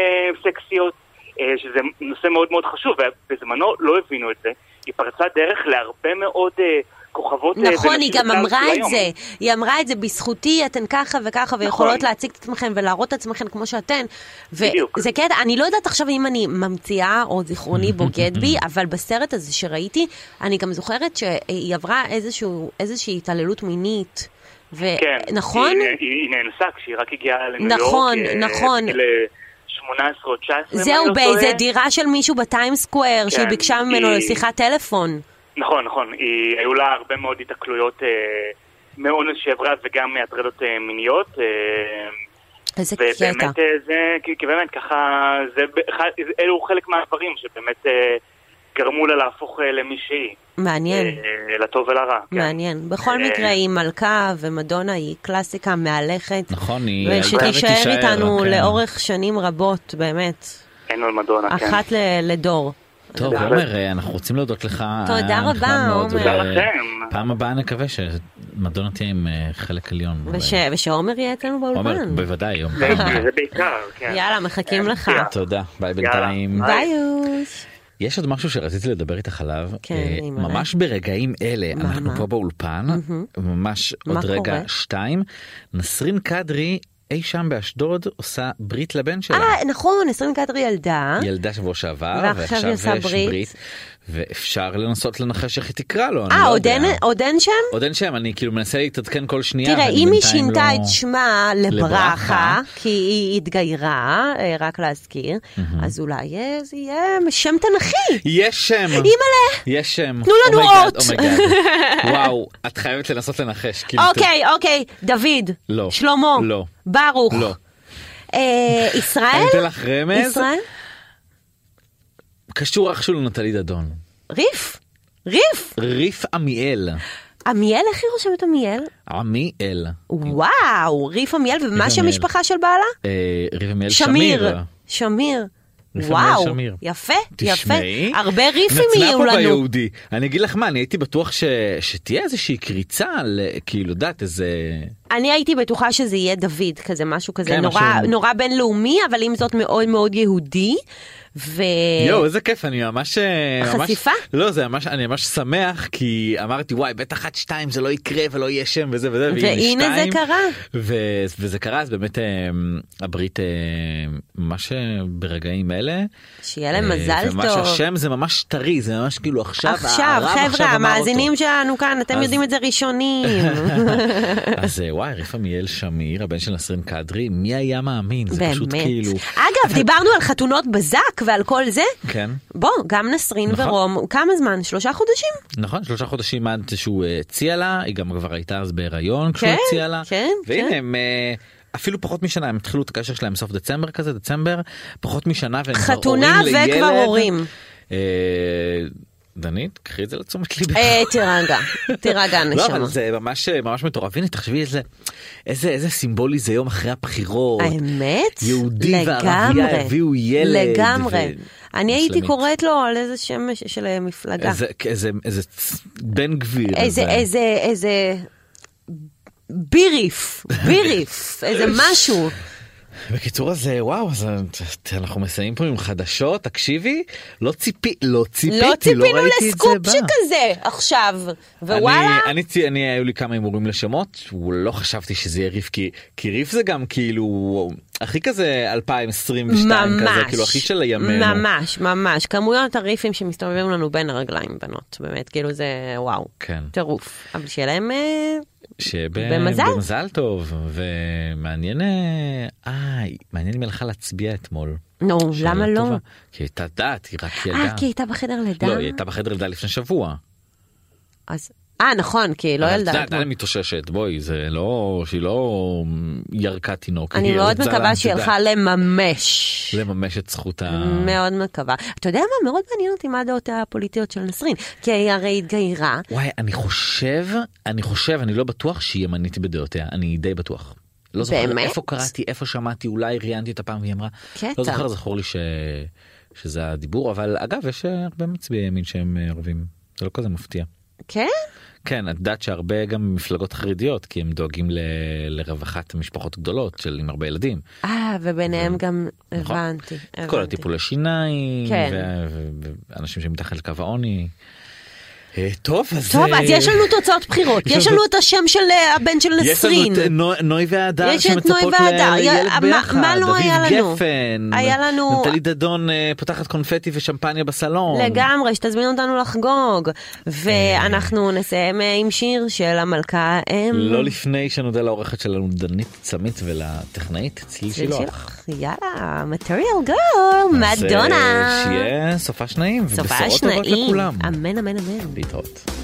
S6: סקסיות, אה, שזה נושא מאוד מאוד חשוב, ובזמנו לא הבינו את זה. היא פרצה דרך להרבה מאוד אה, כוכבות... אה,
S3: נכון,
S6: ונשים
S3: היא גם
S6: בכלל של
S3: אמרה את
S6: היום. נכון.
S3: זה. היא אמרה את זה, בזכותי אתן ככה וככה, ויכולות להציג את עצמכן ולהראות את עצמכן כמו שאתן.
S6: בדיוק.
S3: וזה קטע, אני לא יודעת עכשיו אם אני ממציאה או זיכרוני בוגד בי, אבל בסרט הזה שראיתי, אני גם זוכרת שהיא עברה איזשהו- איזושהי התעללות מינית. ו-
S6: כן.
S3: נכון?
S6: היא, היא, היא נאנסה כשהיא רק הגיעה לניו יורק.
S3: נכון,
S6: אה,
S3: נכון.
S6: בגיל 18 או 19. אם אני
S3: זהו,
S6: לא טועה. כן,
S3: באיזה דירה של מישהו בטיים סקוויר, שהיא ביקשה ממנו
S6: היא-
S3: לשיחת טלפון.
S6: נכון, נכון. היא, היו לה הרבה מאוד התקלויות אה, מאונס שעברה וגם מהטרדות אה, מיניות. אה,
S3: איזה קטע.
S6: ובאמת אה, זה, כי, כי באמת ככה, זה, ב- ח- אלו חלק מהדברים שבאמת אה, גרמו לה להפוך אה, למי שהיא.
S3: מעניין.
S6: אה, לטוב ולרע. כן.
S3: מעניין. בכל
S6: אה,
S3: מקרה, היא מלכה, ומדונה היא קלאסיקה מהלכת.
S2: נכון, היא הייתה
S3: ושתישאר
S2: ותישאר,
S3: איתנו
S2: כן.
S3: לאורך שנים רבות, באמת.
S6: אין על מדונה, כן.
S3: אחת ל- לדור.
S2: טוב,
S6: בהחלט.
S2: עומר, אה, אנחנו רוצים להודות לך.
S3: תודה
S2: היה נחמד
S3: רבה,
S2: מאוד,
S3: עומר.
S2: ו-
S6: תודה לכם.
S2: פעם הבאה נקווה שמדונה תהיה עם אה, חלק עליון.
S3: וש- ושעומר יהיה אצלנו
S2: עומר,
S3: באולפן.
S2: בוודאי, יום
S6: זה,
S2: פעם.
S6: זה בעיקר, כן.
S3: יאללה, מחכים לך.
S6: יאללה.
S2: תודה, ביי בינתיים.
S6: יאללה.
S3: ביי יוש.
S2: יש עוד משהו שרציתי לדבר איתך עליו,
S3: כן,
S2: אה,
S3: אני מלא.
S2: ממש ברגעים אלה,
S3: מה,
S2: אנחנו
S3: מה?
S2: פה באולפן, ממש
S3: מה
S2: עוד רגע
S3: קורה?
S2: שתיים, נסרין קדרי אי שם באשדוד עושה ברית לבן שלה.
S3: אה, נכון, 20 קדרי ילדה.
S2: ילדה שבוע שעבר,
S3: ועכשיו
S2: ועכשיו
S3: היא עושה
S2: יש
S3: ברית.
S2: ברית, ואפשר לנסות לנחש איך היא תקרא לו, אני
S3: אה,
S2: לא
S3: עוד
S2: יודע.
S3: אין- עוד אין שם?
S2: עוד אין שם, אני כאילו מנסה להתעדכן כל שנייה.
S3: תראה,
S2: ואני
S3: אם היא
S2: בינתיים
S3: שינתה
S2: לא-
S3: את שמה לברכה,
S2: לברכה.
S3: כי היא התגיירה, אה, רק להזכיר, אז אולי אה, זה יהיה שם תנכי.
S2: יש שם!
S3: אימא'לה!
S2: יש שם. Oh
S3: תנו לנו
S2: אומייגאד,
S3: אות.
S2: אומייגאד. וואו, את חייבת לנסות לנחש. כאילו,
S3: אוקיי, אוקיי, דוד.
S2: לא.
S3: שלמה.
S2: לא.
S3: ברוך.
S2: לא.
S3: אה,
S2: אני
S3: ישראל?
S2: אתן לך רמז.
S3: ישראל?
S2: קשור אח שלו נטלי דדון.
S3: ריף? ריף?
S2: ריף עמיאל.
S3: עמיאל, איך היא רושמת עמיאל?
S2: עמיאל.
S3: וואו, ריף עמיאל, ומה
S2: עמיאל.
S3: שם המשפחה של בעלה?
S2: אה, ריף עמיאל שמיר.
S3: שמיר. שמיר.
S2: ריף
S3: וואו,
S2: עמיאל שמיר.
S3: יפה, יפה.
S2: תשמעי,
S3: הרבה ריפים יהיו
S2: נצלה פה
S3: לנו.
S2: ביהודי. אני אגיד לך מה, אני הייתי בטוח ש... שתהיה איזושהי קריצה, על, כאילו, יודעת, איזה...
S3: אני הייתי בטוחה שזה יהיה דוד, כזה משהו כזה
S2: כן,
S3: נורא,
S2: משהו-
S3: נורא בינלאומי, אבל עם זאת מאוד מאוד יהודי. ו...
S2: יואו, איזה כיף, אני ממש... אה, ממש-
S3: חשיפה?
S2: לא, זה ממש, אני ממש שמח, כי אמרתי, וואי, בטח עד שתיים זה לא יקרה ולא יהיה שם וזה וזה,
S3: והנה זה
S2: שתיים,
S3: קרה.
S2: ו- וזה קרה, אז באמת אה, הברית אה, ממש אה, ברגעים אלה.
S3: שיהיה להם
S2: אה,
S3: מזל
S2: וממש
S3: טוב.
S2: השם זה ממש טרי, זה ממש כאילו עכשיו,
S3: עכשיו,
S2: הרב
S3: חבר'ה,
S2: אמר
S3: המאזינים
S2: אותו.
S3: שלנו כאן, אתם
S2: אז-
S3: יודעים את זה ראשונים.
S2: אז אה, וואי, ריף עמיאל שמיר, הבן של נסרין קדרי, מי היה מאמין? זה פשוט
S3: באמת.
S2: כאילו...
S3: אגב, דיברנו על חתונות בזק ועל כל זה.
S2: כן,
S3: בוא, גם נסרין
S2: נכון.
S3: ורום, כמה זמן? שלושה חודשים?
S2: נכון, שלושה חודשים עד שהוא אה, הציע לה, היא גם כבר הייתה אז בהיריון כשהוא
S3: כן,
S2: הציע לה.
S3: כן, כן.
S2: והנה הם... אה, אפילו פחות משנה, הם התחילו את הקשר שלהם סוף דצמבר כזה, דצמבר, פחות משנה, והם כבר
S3: חתונה
S2: הורים
S3: וכבר
S2: לילד.
S3: הורים.
S2: אה, דנית, קחי את זה לתשומת ליבך.
S3: אה, תירגע, תירגע
S2: לא, אבל
S3: נשמה.
S2: זה ממש ממש מטורף. הנה, תחשבי איזה, איזה, איזה סימבולי זה יום אחרי הבחירות.
S3: האמת?
S2: יהודי
S3: לגמרי.
S2: וערבייה הביאו ילד.
S3: לגמרי.
S2: ו-
S3: אני הייתי
S2: מוסלמית.
S3: קוראת לו על איזה שם ש- של אה, מפלגה.
S2: איזה, איזה, איזה צ- בן גביר.
S3: איזה, איזה, איזה... ביריף, ביריף, איזה משהו.
S2: בקיצור אז אה, וואו אז אה, ת- אנחנו מסיימים פה עם חדשות תקשיבי לא ציפי לא ציפיתי
S3: לא ציפינו
S2: ראיתי את זה
S3: לסקופ
S2: בא.
S3: שכזה עכשיו, ווואלה,
S2: אני, אני, צי- אני היו לי כמה הימורים לשמות לא חשבתי שזה יהיה ריף כי, כי ריף זה גם כאילו הכי כזה 2022
S3: ממש,
S2: כזה כאילו הכי של הימינו.
S3: ממש, ממש, כמויות הריפים שמסתובבים לנו בין הרגליים, בנות, באמת, כאילו זה וואו,
S2: כן.
S3: טירוף, אבל שיהיה להם, אה,
S2: שבמזל
S3: במזל.
S2: במזל טוב ומעניין אה, אה מעניין אם היא הלכה להצביע אתמול.
S3: נו,
S2: שאלה
S3: למה לא?
S2: טובה. כי היא הייתה דעת היא רק ילדה.
S3: אה, כי היא הייתה בחדר לידה?
S2: לא היא הייתה בחדר לידה לפני שבוע.
S3: אז, אה, נכון, כי היא לא
S2: אבל
S3: ילדה.
S2: את יודעת,
S3: אתמול.
S2: עדיין היא מתאוששת, בואי, זה לא, שהיא לא ירקה תינוק.
S3: אני
S2: היא
S3: מאוד
S2: רוצה לה- אה.
S3: מקווה שהיא
S2: את
S3: הלכה
S2: יודעת,
S3: לממש.
S2: לממש את זכות ה...
S3: מאוד מקווה. אתה יודע מה? מאוד מעניין אותי מה הדעות הפוליטיות של נסרין. כי היא הרי התגיירה.
S2: וואי, אני חושב, אני חושב, אני לא בטוח שהיא ימנית בדעותיה, אני די בטוח. לא זוכר
S3: באמת?
S2: איפה קראתי, איפה שמעתי, אולי ראיינתי אותה פעם והיא אמרה.
S3: קטע.
S2: לא זוכר, זכור לי ש... שזה הדיבור, אבל אגב, יש אה, הרבה מצביעי ימין שהם אה, ערבים, זה לא כזה מפתיע.
S3: כן?
S2: כן, את יודעת שהרבה גם מפלגות חרדיות, כי הם דואגים ל... לרווחת משפחות גדולות של עם הרבה ילדים.
S3: אה, וביניהם גם
S2: נכון.
S3: הבנתי.
S2: את כל
S3: הבנתי.
S2: הטיפולי שיניים,
S3: כן.
S2: ו- ו- ואנשים שמתחת לקו העוני. אה, טוב, אז...
S3: טוב,
S2: אה,
S3: אז יש לנו תוצאות בחירות. יש לנו את השם של אה, הבן של
S2: יש לנו
S3: נסרין.
S2: את אה, נו- נוי והדר
S3: יש את נוי
S2: שמצפות
S3: והדר.
S2: לילד
S3: יא- מה-
S2: ביחד,
S3: מה לא היה לנו?
S2: אביב גפן,
S3: היה לנו-
S2: נטלי דדון אה, פותחת קונפטי ושמפניה בסלון.
S3: לגמרי, שתזמינו אותנו
S2: אה.
S3: לחגוג. ואנחנו נסיים אה, עם שיר של המלכה אה, אם.
S2: לא לפני שנודה לעורכת שלנו דנית צמית ולטכנאית צליל שילוח.
S3: יאללה, material girl,
S2: לא. אז, אה,
S3: מדונה.
S2: שיהיה סופה שניים
S3: סופה
S2: ובשורות טובות
S3: שניים. אמ-
S2: לכולם.
S3: אמן, אמן, אמן.
S2: להתראות.